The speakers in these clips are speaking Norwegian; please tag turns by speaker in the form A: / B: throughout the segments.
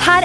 A: her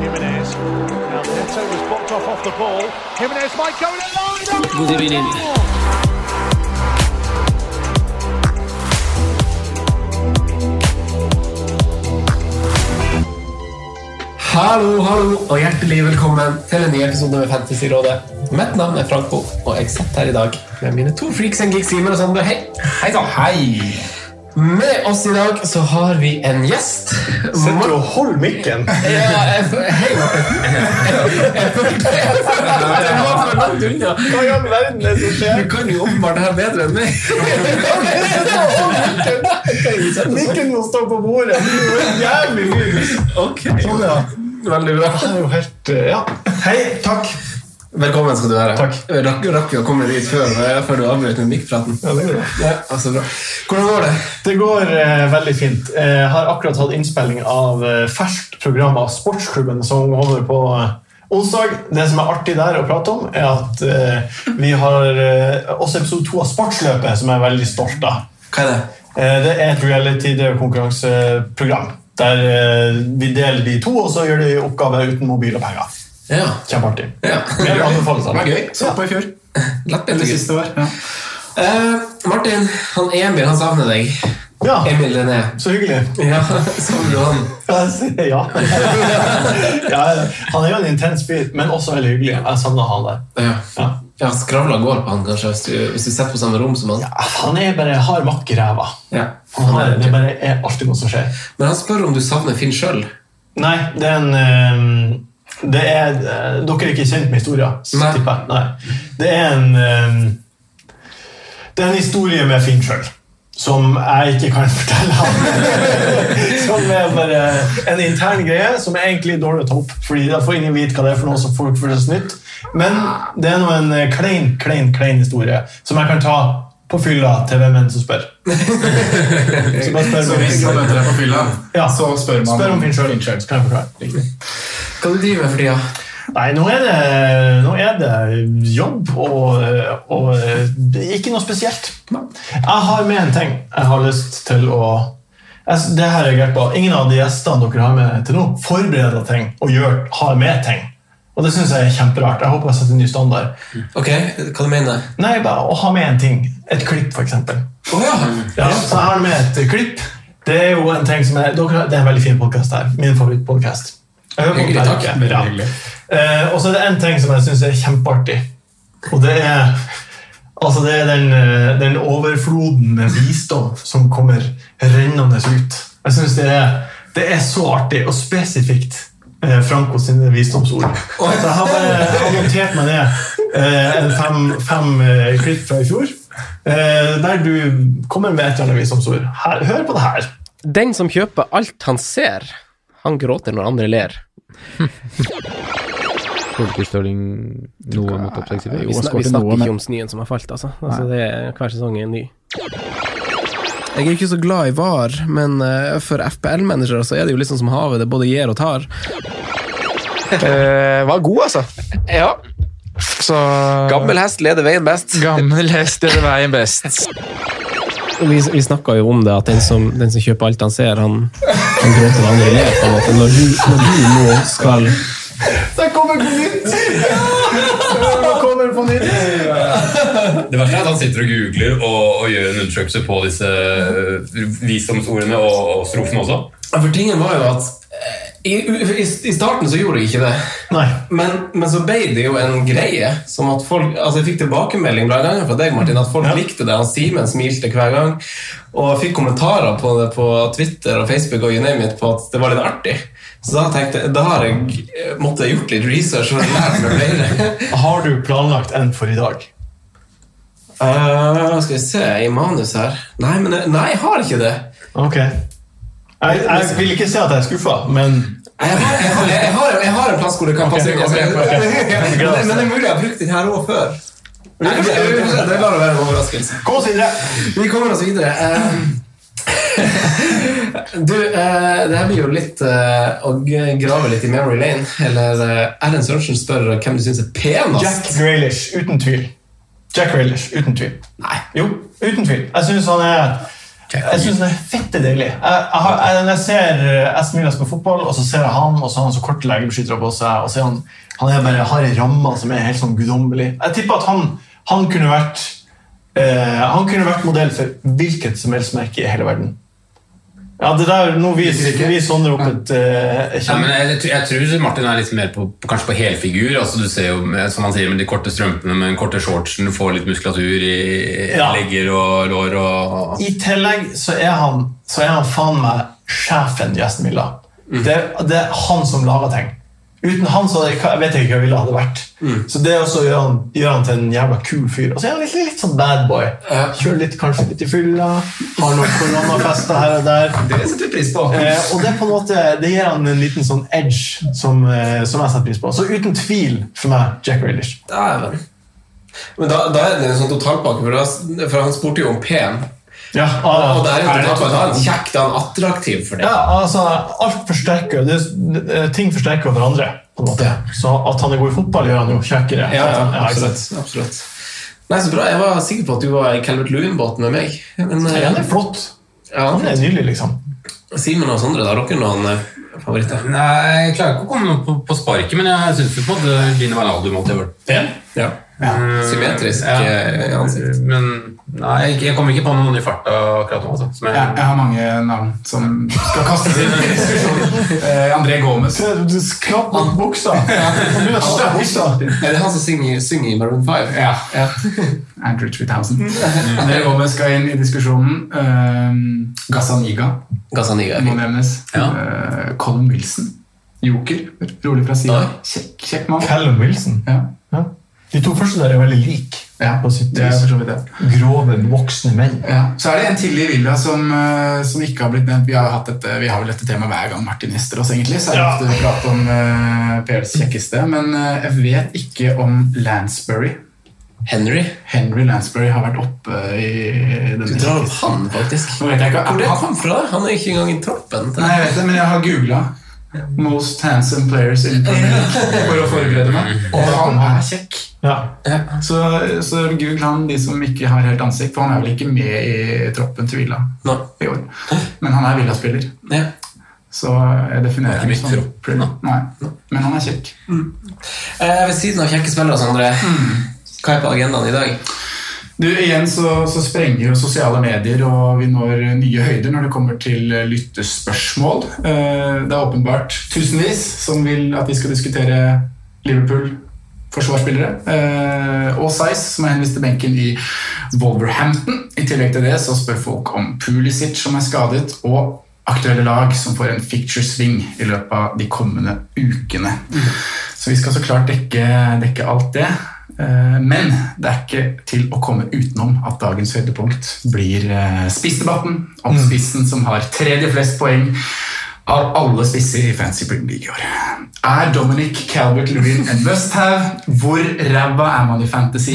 B: Jimenez. Now Neto was blocked off off the ball. Jimenez might go in line. Good evening.
C: Hallo, hallo, og hjertelig velkommen til en ny episode med Fantasyrådet. Mitt navn er Franco, og jeg sitter her i dag med mine to freaks and geeks, Simen og Sondre. Hei! Hei da! Hei! Med oss i dag så har vi en gjest. Sitter du og holder mikken? Ja, jeg, jeg, hei, Morten. Jeg følte jeg følte at jeg var for langt unna. Hva i all verden er det som skjer? Du kan jo åpenbart det her bedre enn meg. Mikken må stå på bordet. Jævlig mye. Sånn, Ok. Veldig bra. Hei, takk. Velkommen skal du være. eh, Takk. Rakk, rakk vi å komme dit før, eh, før du avbrøt med mikkpraten? Ja, det går ja, altså bra. Hvordan går det?
D: Det går eh, veldig fint. Jeg har akkurat hatt innspilling av eh, ferskt program av Sportsklubben som holder på eh, onsdag. Det som er artig der å prate om, er at eh, vi har eh, også episode to av Sportsløpet, som jeg er veldig stolt av.
C: Hva er det?
D: Eh, det er et reality-konkurranseprogram der eh, vi deler de to, og så gjør de oppgaver uten mobil og penger.
C: Ja.
D: Kjempeartig.
C: ja.
D: Jeg vil anbefale det.
C: Det var gøy. Så på i fjor. Lett bedre siste år. Eh, Martin, han Emil, han savner deg.
D: Ja,
C: Emil René.
D: så hyggelig.
C: Ah. Ja, savner du han?
D: Ja. ja. Han er jo en intens fyr, men også veldig hyggelig. Jeg savner han der.
C: Ja.
D: Ja.
C: ja skravla går på han, kanskje, hvis du, hvis du sitter på samme rom som han.
D: Han er bare hard makk i ræva.
C: Ja.
D: Han er, det
C: det.
D: bare er alltid noe som skjer.
C: Men han spør om du savner Finn sjøl.
D: Nei, det er en eh, det er, eh, Dere er ikke kjent med historien, så
C: Nei.
D: tipper jeg. Nei. Det er en eh, Det er en historie med Finn sjøl. Som jeg ikke kan fortelle ham. som er bare en intern greie som er egentlig dårlig å ta opp. Fordi da får ingen vite hva det er for noe som folk føler seg nytt. Men det er nå en eh, klein, klein, klein historie som jeg kan ta på fylla til hvem enn som spør. Så bare spør meg.
C: møter deg på fylla,
D: Ja.
C: spør
D: Spør om Finn sjøl, så kan jeg forklare.
C: Hva du driver med for tida?
D: Nei, nå er det, nå er det jobb og, og det er ikke noe spesielt. Jeg har med en ting jeg har lyst til å jeg- Det her er greit på. Ingen av de gjestene dere har med til nå, forbereder ting og gjør, har med ting. Og det syns jeg er kjemperart. Jeg håper jeg setter en ny standard.
C: Ok, hva du mener du?
D: Nei, bare å ha med en ting. Et klipp, f.eks.
C: Å ja!
D: Ja, så her har vi et klipp. Det er jo en ting som er, dere, det er en veldig fin podkast her. Min favorittpodkast. Jeg hører på den
C: Hyggelig,
D: hver
C: takk.
D: uke.
C: Veldig
D: Ja.
C: hyggelig.
D: Eh, og så er det en ting som jeg syns er kjempeartig. Og det er, altså det er den, eh, den overfloden med visdom som kommer rennende ut. Jeg syns det, er- det er så artig og spesifikt. eh, Franco sine visdomsord. Så jeg har bare jeg har notert meg ned eh, en fem, fem eh, klipp fra i fjor. Eh, der du kommer med et eller annet visdomsord. Her, hør på det her.
E: Den som kjøper alt han ser, han gråter når andre ler. Vi, snak, vi snakker ikke om snøen som har falt, altså. altså det er, hver sesong er ny. Jeg er ikke så glad i VAR, men eh, for FPL-mennesker så er det jo liksom som havet, det både gir og tar.
B: var god, altså. Ja. Så
E: Gammel hest leder veien best.
B: Gammel hest er det veien best.
E: Vi, vi snakka jo om det, at den som, den som kjøper alt han ser, han, han gråter når andre ler. på en måte. Når du, når du nå skal
D: Det kommer på nytt! Det kommer på nytt.
F: Det verste er at han sitter og googler og, gjør en undersøkelse på disse visdomsordene og, og strofene også.
C: Ja, For tingen var jo at eh, I, i, I starten så gjorde jeg ikke det. Men, men så ble det jo en greie. Som at folk, altså Jeg fikk tilbakemelding blant annet fra deg, Martin, at folk likte det. Han Simen smilte hver gang. Og jeg fikk kommentarer på det på Twitter og Facebook og you name it, på at det var litt artig. Så da tenkte jeg, da har jeg eh, måtte jeg gjort litt research og lært meg flere.
D: Har du planlagt en for i dag?
C: Eh, skal vi se i manus her Nei, men, jeg- nei jeg har ikke det.
D: Ok. Jeg, jeg vil ikke si at jeg er skuffa, men
C: Jeg har, jeg, har, jeg, har, jeg har en plass hvor det kan
D: Ok,
C: passe inn.
D: ok, ok.
C: Men- Men det er mulig jeg har brukt den her òg før. Nei, det det lar det være en overraskelse.
D: Kom oss videre.
C: Vi kommer oss videre. Eh, Du, eh, det her blir jo litt eh, å g- grave litt i memory lane. Eller eh, Erlend Sørensen spør hvem du syns er
D: Jack
C: penest.
D: Grealish, uten tvil. Jack Grealish, uten tvil. Nei. Jo, uten tvil. Jeg syns han er jeg synes han er fette deilig. Jeg, jeg, har- jeg, når jeg ser eh, Aston Villa spille fotball, og så ser jeg han, og så har han så korte legebeskyttere på seg, og så er han, han er bare, har en ramme som er helt sånn guddommelig. Jeg tipper at han, han kunne vært eh, han kunne vært modell for hvilket som helst merke i hele verden. Ja, det der, Nå viser vi Sondre opp et eh,
G: Ja, men jeg, jeg tror Martin er litt mer på, på, kanskje på helfigur. Altså, du ser jo, med- som han sier, med de korte strømpene, med den korte shortsen, du får litt muskulatur i
D: Ja.
G: legger og lår og
D: I tillegg så er han, så er han faen meg sjefen i Aston Villa.
C: Mm.
D: Det, det er han som lager ting. Uten han så hadde jeg- jeg vet jeg ikke hva Villa hadde vært.
C: Mm.
D: Så det også gjør han, gjør han til en jævla kul fyr. Og så er han litt, litt sånn bad boy. Kjører litt, kanskje litt i fylla. Har noen koronafester her og der.
C: Det setter vi pris på.
D: Eh, og det, er på en måte, det gir han en liten sånn edge som, eh, som jeg setter pris på. Så uten tvil for meg Jack Raylish.
C: Dæven. Men da, da er det en sånn totalpakke, for, da, for han spurte jo om pen.
D: Ja,
C: Og det er jo en totalpakke. Da er han kjekk, da er han attraktiv for det.
D: Ja, altså, alt forsterker det, det- Ting forsterker hverandre. på en måte. Så at han er god i fotball, gjør han jo kjekkere.
C: Ja, ja,
D: ikke sant?
C: absolutt. absolutt. Nei, så bra. Jeg var sikker på at du var i Calvert Lewin-båten med meg. Men, eh,
D: Nei, han er flott.
C: Ja.
D: Han er nydelig, liksom.
C: Simen og Sondre, da har dere noen eh, favoritter?
G: Nei, jeg klarer ikke å komme noe på, på sparket, men jeg syns jo på en måte Gino Wijnaldum alltid har vært
D: pen.
C: Ja.
G: Eh,
C: Symmetrisk, eh, ansikt.
G: Men nei, jeg, jeg kommer ikke på noen i farta akkurat nå. Altså, som jeg,
H: Jeg, jeg har mange navn som skal kastes inn i diskusjonen. Eh, André Gomez.
D: Knapp nok buksa!
C: Er det han som synger, synger i Maroon 5?
H: Ja. Andrew 3000. André Gomez skal inn i diskusjonen. Eh, Gazzaniga
C: Gazzaniga.
H: må nevnes. Eh, Colin Wilson. Joker. Rolig fra sida. Kjekk, kjekk mann.
D: Callum Wilson.
H: Ja.
D: De to første der er veldig like.
H: Ja,
D: på sitt
H: det er
D: vis.
H: for så vidt det.
D: Grove, voksne menn.
H: Ja. Så er det en til i Villa som, eh, som ikke har blitt nevnt. Vi har, hatt dette, vi har vel dette temaet hver gang Martin gjester oss, egentlig. Så er det
D: Ja.
H: ofte prat om eh, PLs kjekkeste. Men eh, jeg vet ikke om Lansbury.
C: Henry?
H: Henry Lansbury har vært oppe i den
C: Du drar opp han, faktisk.
H: Nå vet jeg ikke.
C: Hvor det kom fra? Han er ikke engang i troppen.
H: Nei, jeg vet det, men jeg har googla. Most handsome players in Premier League for å forberede meg. Og han er kjekk. Så, så google han de som ikke har helt ansikt, for han er vel ikke med i troppen til Villa i år. Men han er Villa-spiller. Så jeg definerer ham som Nei. Men han er kjekk.
C: Eh, ved siden av kjekke spillere, Sondre, hva er på agendaen i dag?
H: Hmm. Du, Igjen så, så sprenger jo sosiale medier, og vi når nye høyder når det kommer til eh, lyttespørsmål. Eh, Det er åpenbart tusenvis som vil at vi skal diskutere Liverpool-forsvarsspillere. eh, Og Size, som er henvist til benken i Wolverhampton. I tillegg til det så spør folk om Pulisic, som er skadet, og aktuelle lag som får en picture-sving i løpet av de kommende ukene. Så vi skal så klart dekke, dekke alt det. Eh, Men det er ikke til å komme utenom at dagens høydepunkt blir eh, spissdebatten om spissen som har tredje flest poeng av alle spisser i Fancy Premier League i år. Er Dominic Calvert Lewin en must-have? Hvor ræva er man i fantasy?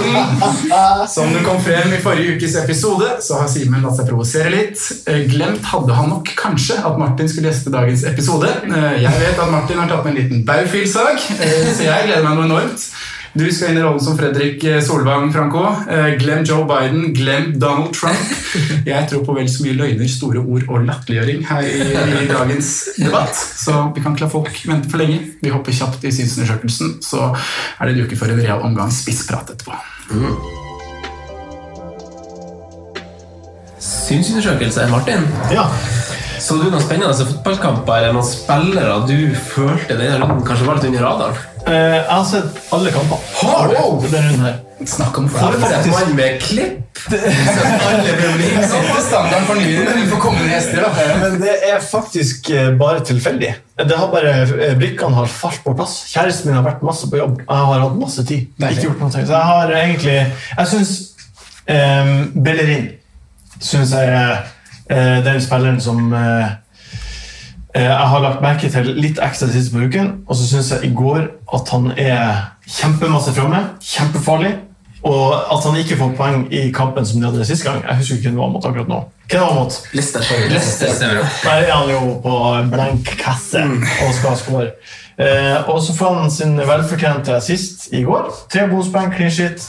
H: Som det kom frem i forrige ukes episode, så har Simen latt seg provosere litt. Eh, Glemt hadde han nok kanskje at Martin skulle gjeste dagens episode. Eh, Jeg vet at Martin har tatt med en liten Baufil-sag, eh, så jeg gleder meg noe enormt. Du skal inn i rollen som Fredrik eh, Solvang Franco. Eh, Glem Joe Biden, glem Donald Trump. Jeg tror på vel så mye løgner, store ord og latterliggjøring her i, i dagens debatt. Så vi kan ikke la folk vente for lenge. Vi hopper kjapt i synsundersøkelsen, så er det en uke for en real omgang spissprat etterpå.
C: Synsundersøkelse, Martin.
D: Ja.
I: Så du noen
C: altså,
I: spennende fotballkamper eller noen spillere du følte denne runden kanskje var litt under radaren?
D: Eh, jeg har sett alle kamper.
I: Har du?
D: Denne runden her.
E: Snakk om
I: Har du sett mann med klipp?
C: liksom-
E: Sånn er standarden for nyere, men vi får komme ned hester, da.
D: Eh, Men det er faktisk eh, bare tilfeldig. Det har bare, eh, Brikkene har falt på plass. Kjæresten min har vært masse på jobb. Jeg har hatt masse tid. Ikke gjort noe. Så jeg har egentlig Jeg syns eh, Bellerin synes jeg er eh, den spilleren som eh, eh, jeg har lagt merke til litt ekstra sist på uken. Og så syns jeg i går at han er kjempemasse framme. Kjempefarlig. Og at han ikke får poeng i kampen som de hadde sist gang. Jeg husker ikke hvem det var mot akkurat nå. Hvem det var mot?
I: Leicester. Leicester, stemmer det.
D: Der er han jo på blank kasse og skal score. Eh, og så får han sin velfortjente assist i går. Tre bonuspoeng, clean shit.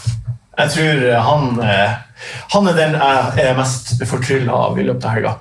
D: Jeg tror eh, han, eh, han er den jeg er mest fortrylla av i løpet av helga.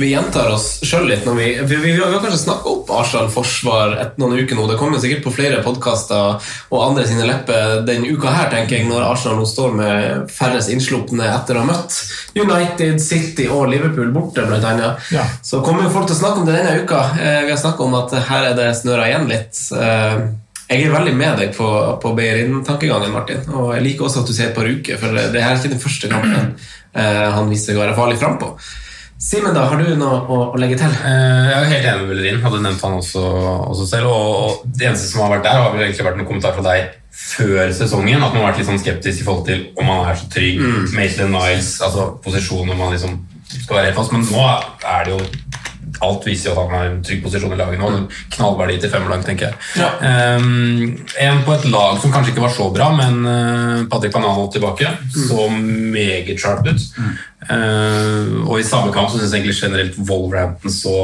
C: Vi gjentar oss sjøl litt. Når vi, vi, vi, vi har kanskje snakka opp Arsenal forsvar et, noen uker nå. Det kommer sikkert på flere podkaster og andre sine lepper den uka her, tenker jeg, når Arsenal nå står med færrest innslupne etter å ha møtt United, City og Liverpool borte, blant annet.
D: Ja.
C: Så kommer jo folk til å snakke om det denne uka. Eh, Vi har snakka om at her er det snøra igjen litt. Eh, Jeg er veldig med deg på, på Beirin-tankegangen, Martin. Og jeg liker også at du sier Paruke, for det her er ikke den første kampen eh, han viser seg å være farlig frampå. Simen, da, har du noe å, å legge til? Eh, Jeg er jo helt enig med Bellerin. Hadde nevnt han også, også selv. Og, og det eneste som har vært der, har vel egentlig vært noen kommentar fra deg før sesongen. At man har vært litt sånn skeptisk i forhold til om han er så trygg. Maitland Niles, altså posisjonen om han liksom skal være helt fast. Men nå er det jo Alt viser jo at han har en trygg posisjon i laget nå. En Knallverdi til femmerlag, tenker jeg. Ehm, en på et lag som kanskje ikke var så bra, men eh, Patrick Banano tilbake. Så meget sharp ut. Eh, og i samme kamp så syns jeg egentlig generelt Wolverhampton så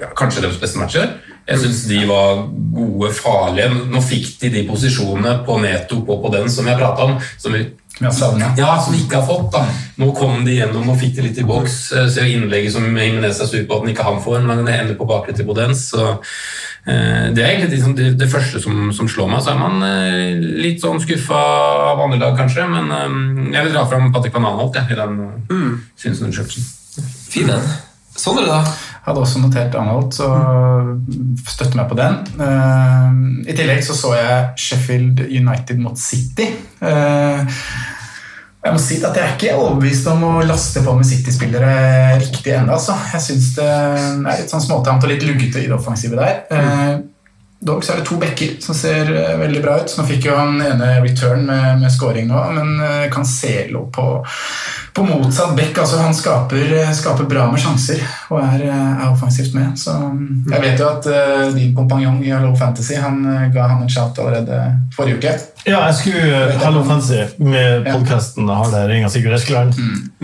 C: ja, kanskje deres beste matcher. Jeg syns de var gode, farlige. Nå fikk de de posisjonene på Neto og på den som jeg prata om, som vi ja, som de ikke har fått. da. Nå kom de gjennom og fikk det litt i boks. Eh, Ser jo innlegget som Jimenez er sur på at han ikke han får, men det ender på bakre til Bodens. Så, eh, det er egentlig liksom det, det første som, som slår meg. Så er man eh, litt sånn skuffa av andre lag, kanskje, men eh, jeg vil dra fram Patrick Bananholt jeg, i den mm. Sånn synsundersøkelsen.
E: Fin en. Sondre, da? Hadde også notert Anholt, så støtter meg på den. Eh, I tillegg så så jeg Sheffield United mot City. Eh, jeg må si at jeg er ikke overbevist om å laste på med City-spillere riktig ennå. Altså. Jeg syns det er litt sånn småtamt og litt luggete i det offensive der. Eh, Dog så er det to backer som ser eh, veldig bra ut. Nå fikk jo han ene return med, med scoring nå, men eh, Cancelo på, på motsatt back. Altså, han skaper, eh, skaper bra med sjanser og er, eh, er offensivt med. Så mm, jeg vet jo at eh, din kompanjong i Hello Fantasy han eh, ga han en shout allerede forrige uke.
D: Ja, jeg skulle eh, Hello Fancy med podkasten har det ringa Sigurd Eskeland.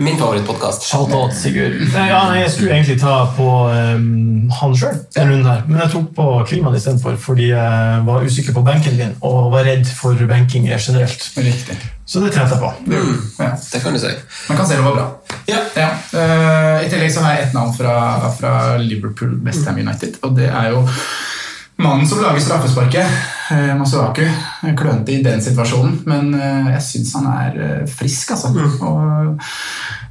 C: Min favorittpodkast.
D: Shout out, Sigurd. Nei, ja, nei, jeg skulle egentlig ta på eh, han sjøl, den runden her. Men jeg tok på Kliman istedenfor, fordi jeg var usikker på benken min og var redd for benking generelt.
E: Riktig.
D: Så det trente jeg på.
E: Ja.
C: Det kan du si.
E: Men Cancelo var bra. Ja. Eh, I tillegg så har jeg ett navn fra, fra Liverpool Westham United, og det er jo mannen som lager straffesparket, eh, Masuaku. Klønete i den situasjonen, men eh, jeg syns han er eh, frisk, altså. Og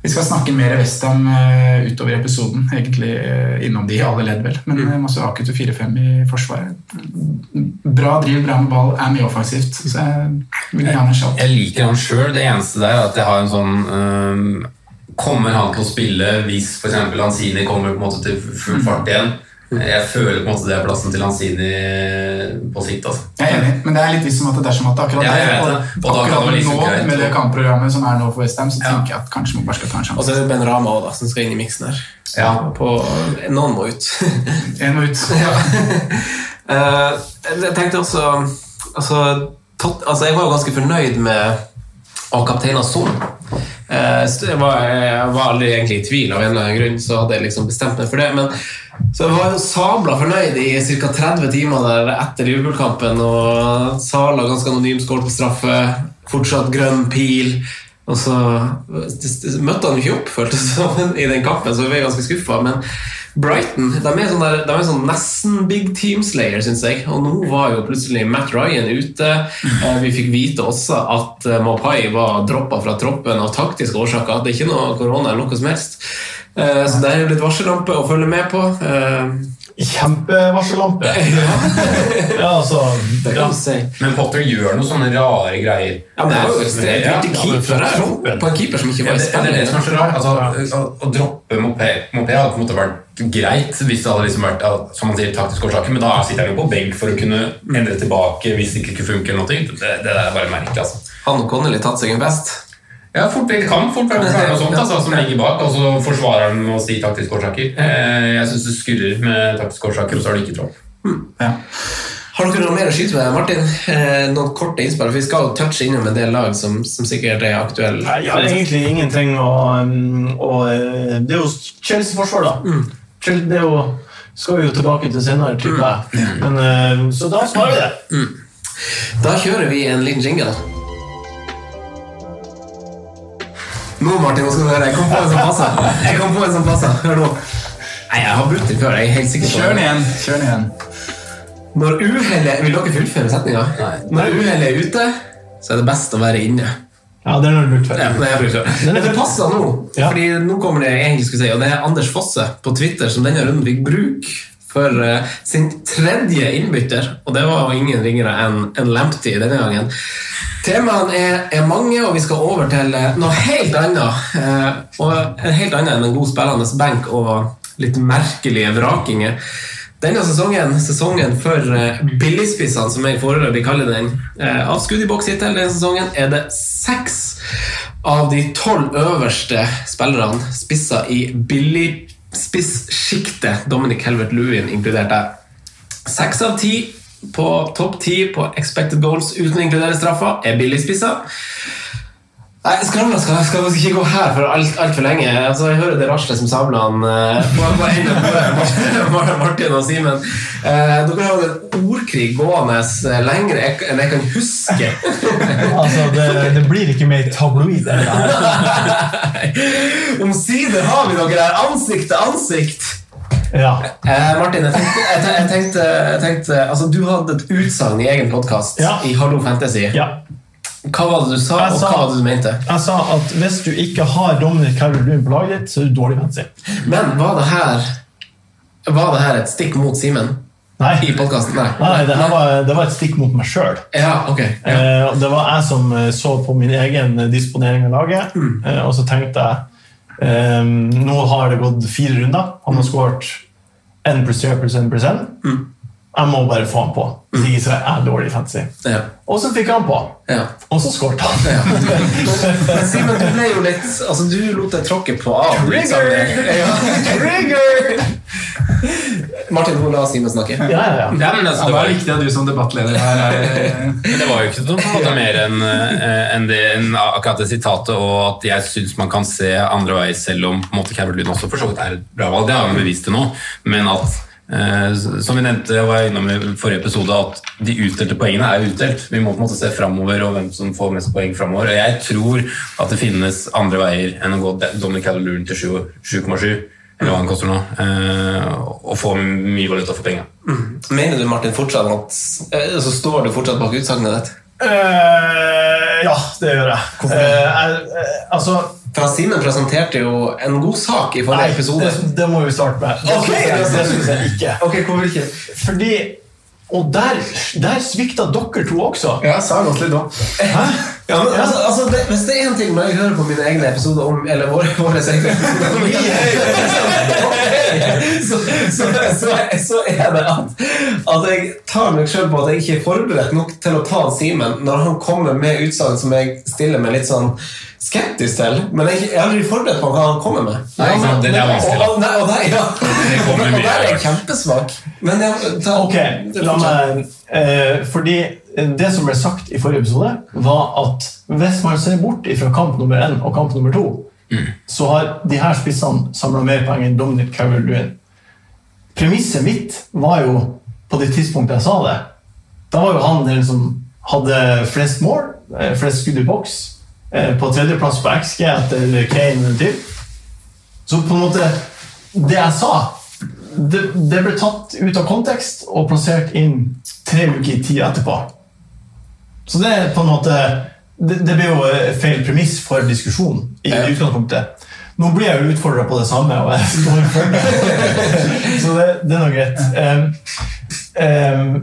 E: vi skal snakke mer Westham eh, utover i episoden, egentlig eh, innom de i alle ledd, vel. Men eh, Masuaku til 4-5 i forsvaret. Bra driv, bra med ball, er mye offensivt. Så jeg vil gjerne ha en
C: Jeg liker han sjøl. Det eneste der er at jeg har en sånn øhm, Kommer han til å spille hvis f.eks. Lanzini kommer på en måte til full fart igjen? Jeg føler på en måte det er plassen til Lanzini på sikt. altså.
E: Jeg er enig, men det er litt visst som at det er som at akkurat,
C: Ja, jeg vet det. Og
E: og-
C: da kan det
E: akkurat
C: være liksom
E: nå,
C: greit.
E: med det kampprogrammet som er nå for Westham, så tenker jeg at kanskje man bare skal ta en
C: Og
E: sjanse.
C: så er det Ben Rama også, da, som skal inn i miksen her. På, noen må ut.
E: En må ut.
C: Eh, jeg tenkte også altså, tot, altså, jeg var jo ganske fornøyd med å kapteina Son. Eh, så jeg, var, jeg var aldri egentlig i tvil av en eller annen grunn, så hadde jeg liksom bestemt meg for det. Men så jeg var jo sabla fornøyd i ca. 30 timer der etter Liverpool-kampen, og Sala ganske anonym skåret på straffe, fortsatt grønn pil. Og så møtte han jo ikke opp, føltes det som, i den kampen, så vi er ganske skuffa. Men Brighton de er, sånn der, de er sånn nesten big team slayer, syns jeg. Og nå var jo plutselig Matt Ryan ute. Eh, Vi fikk vite også at eh, Mapai var droppa fra troppen av taktiske årsaker. Det er ikke noe korona eller noe som helst. Eh, Så det er jo litt varsellampe å følge med på. Eh,
D: Kjempevarsellampe. Altså, ja, altså
C: Det kan du si.
G: Men Potter gjør noen sånne rare greier.
C: Ja, men det var jo ekstremt
G: Ja,
C: lite
G: ja,
C: keeper
G: men fra
C: her.
G: kroppen.
C: På en keeper som ikke var
G: Ja,
C: i
G: det-
C: spillet.
G: Det er det som er så rart. Altså, å- å droppe moped, moped hadde på en måte vært greit hvis det hadde liksom vært ja, som man sier, taktiske årsaker, men da sitter han jo på benk for å kunne endre tilbake hvis det ikke kunne funke. eller noe. Det, det der er bare merkelig. altså.
C: Han og Connolly tatt seg en fest.
G: Ja, fort, det kan fort være noe sånt altså, som ligger bak, og så forsvarer han med å si taktiske årsaker. Eh, Jeg syns det skurrer med taktiske årsaker, og så har de ikke tropp.
C: Har dere noe mer å skyte med, Martin? Eh, Noen korte innspill? For vi skal jo touche innom en del lag som, som sikkert er aktuelle.
D: Nei, Jeg har egentlig ingenting å, um, å eh, Det er jo Chelsea-forsvar, da.
C: Mm.
D: Chelsea, det er jo, skal vi jo tilbake til senere, tipper jeg. Men, eh, så da sparer vi det.
C: Da kjører vi en liten jingle. Nå, Martin, nå skal du høre. Jeg kom på en som passer. Jeg kom på en som passer. Hør nå. Nei, jeg har brukt den før. Jeg er helt sikker på
E: Kjør den igjen. Kjør den igjen.
C: Når uhellet Vil dere fullføre setninga? Når uhellet er ute, så er det best å være inne.
D: Ja, den har du brukt før.
C: Ja, det, er brukt før. Men det passer nå, Fordi nå kommer det jeg egentlig skulle si, og det er Anders Fosse på Twitter som denne runden fikk bruk for eh, sin tredje innbytter, og det var jo ingen ringere enn en Lamptey denne gangen. Temaene er, er mange, og vi skal over til eh, noe helt annet. eh, og en helt annet enn en god spillende benk og litt merkelige vrakinger. Denne sesongen, sesongen for eh, billigspissene, som jeg foreløpig kaller den, eh, av skudd i boks hittil denne sesongen, er det seks av de tolv øverste spillerne spisser i billigspissjiktet, Dominic Helvert-Lewin inkludert der. Seks av ti på topp ti på expected goals uten å inkludere straffer er billigspisser. Nei, skravla skal, skal vi ikke gå her for alt altfor lenge. Altså, jeg hører det raslet som sablene eh, på, på enden på det, Mar- Martin og Simen. Eh, dere har jo en ordkrig gående eh, lenger ek- enn jeg kan huske.
D: Altså, det, det blir ikke mer tabloid. enn det her.
C: Omsider har vi dere her, ansikt til ansikt.
D: Ja.
C: Eh, Martin, jeg tenkte, jeg tenkte, jeg tenkte, jeg tenkte altså, Du hadde et utsagn i egen podkast i Hallo Fantasy. Hva var det du sa,
D: Jeg
C: og
D: sa-
C: hva var det du mente?
D: Jeg sa at hvis du ikke har Dominic Carroll Lund på laget ditt, så er du dårlig fancy.
C: Men var det her Var det her et stikk mot Simen? I podkasten? Nei.
D: Nei, nei, det, her var, det var et stikk mot meg sjøl.
C: Ja, ok.
D: Det var jeg som eh, så på min egen disponering av laget, eh, og så tenkte jeg eh, Nå har det gått fire runder. Han har skåret 1 pluss 3 pluss 1 pluss 1. Jeg må bare få han på. Hvis ikke så er jeg dårlig fancy.
C: Ja.
D: Og så fikk jeg han på. Og så skåret han.
C: Men Simen, du ble jo litt Altså, du lot deg tråkke på av. litt sånn, eh, ja. Martin, nå la Simen snakke.
D: Ja, ja, ja.
G: Ja, men altså, det var-
C: viktig at du som debattleder
G: Men det var jo ikke noe på en måte mer enn eh, enn det, enn akkurat det sitatet, og at jeg syns man kan se andre veier, selv om på en måte Calvert Lund også for så vidt er et bra valg. Det har han bevist til nå. Men at, eh, som vi nevnte og var innom i forrige episode, at de utdelte poengene er utdelt. Vi må på en måte se framover og hvem som får mest poeng framover. Og jeg tror at det finnes andre veier enn å gå Dominic Calvert Lund til sju- 7,7. Eller hva han koster nå. eh, Og få mye valuta for pengene.
C: Mener du, Martin, fortsatt at eh, Så står du fortsatt bak utsagnet ditt?
D: Eh, ja, det gjør jeg. Eh, jeg eh, altså
C: For Simen presenterte jo en god sak i forrige
D: Nei,
C: episode.
D: det, det må vi starte med. Det
C: Ok,
D: synes jeg-
C: det-
D: det syns jeg ikke. Fordi Og der, der svikta dere to også.
C: Ja, sa godt litt om. Ja, men, altså, altså, det, hvis det er en ting når jeg hører på mine egne episoder om Eller våre, våre egne episoder om så, så, så, så er det at, at jeg tar meg selv på at jeg ikke er forberedt nok til å ta Simen når han kommer med utsagn som jeg stiller meg litt sånn skeptisk til. Men jeg, jeg er aldri forberedt på hva han kommer med.
G: Nei, ikke sant, det- det er vanskelig.
C: Og, og, nei, og der, ja.
G: Det kommer mye
C: og der er
G: rart.
C: jeg kjempesvak. Men jeg, ta,
D: Ok, la meg eh, Fordi det som ble sagt i forrige episode, var at hvis man ser bort fra kamp nummer én og kamp nummer to, så har de her spissene samla mer poeng enn Dominic Carroll-Lewin. Premisset mitt var jo, på det tidspunktet jeg sa det Da var jo han den som hadde flest mål, eh, flest skudd i boks, eh, på tredjeplass på XG etter Kane og Typ. Så på en måte Det jeg sa, det, det ble tatt ut av kontekst og plassert inn tre uker i tid etterpå. Så det er på en måte Det, det ble jo eh, feil premiss for diskusjonen i utgangspunktet. Nå blir jeg jo utfordra på det samme, og jeg står for det. Så det, det er nå greit. Em, em,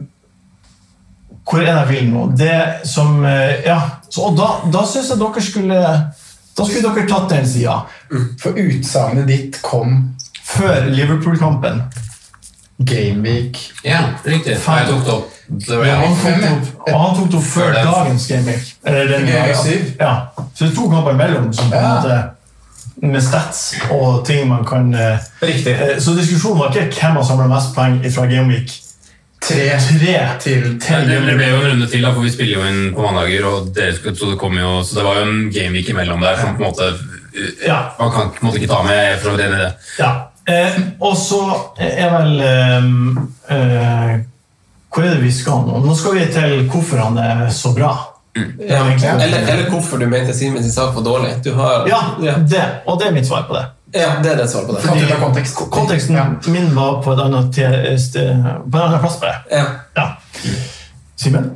D: hvor er det jeg vil nå? Det som eh, Ja. Så, og da, da syns jeg dere skulle Da skulle dere tatt den sida.
E: For utsagnet ditt kom
D: Før Liverpool-kampen.
E: Gameweek.
G: Ja, riktig. Jeg tok det opp. Det var
D: Ja,
G: jeg.
D: han tok det opp, og han tok det opp før dagens gameweek. Eller den
E: Ja, ja.
D: Ja. Så det er to kamper imellom som på en måte med stats og ting man kan eh, eh, Så diskusjonen var ikke hvem har samla mest poeng fra gameweek.
E: Tre, til,
D: til
G: Det det ble jo en runde til, da, for vi spiller jo inn på mandager. og dere skulle, Så det kom jo, så det var jo en gameweek imellom der som på en måte Man kan på en måte ikke ta med for å rene det.
D: Ja. Eh, og så er vel eh, eh, Hvor er det vi skal nå? Nå skal vi til hvorfor han er så bra.
I: Ja,
C: eller, eller hvorfor du mente Simen sin sak var dårlig. Du har,
D: Ja, det, og det er mitt svar på det.
C: ja, det er det svaret på det.
D: Fordi ko- konteksten min var på, et annet te- sted, på en annen plass. På det.
C: Ja.
D: Simen?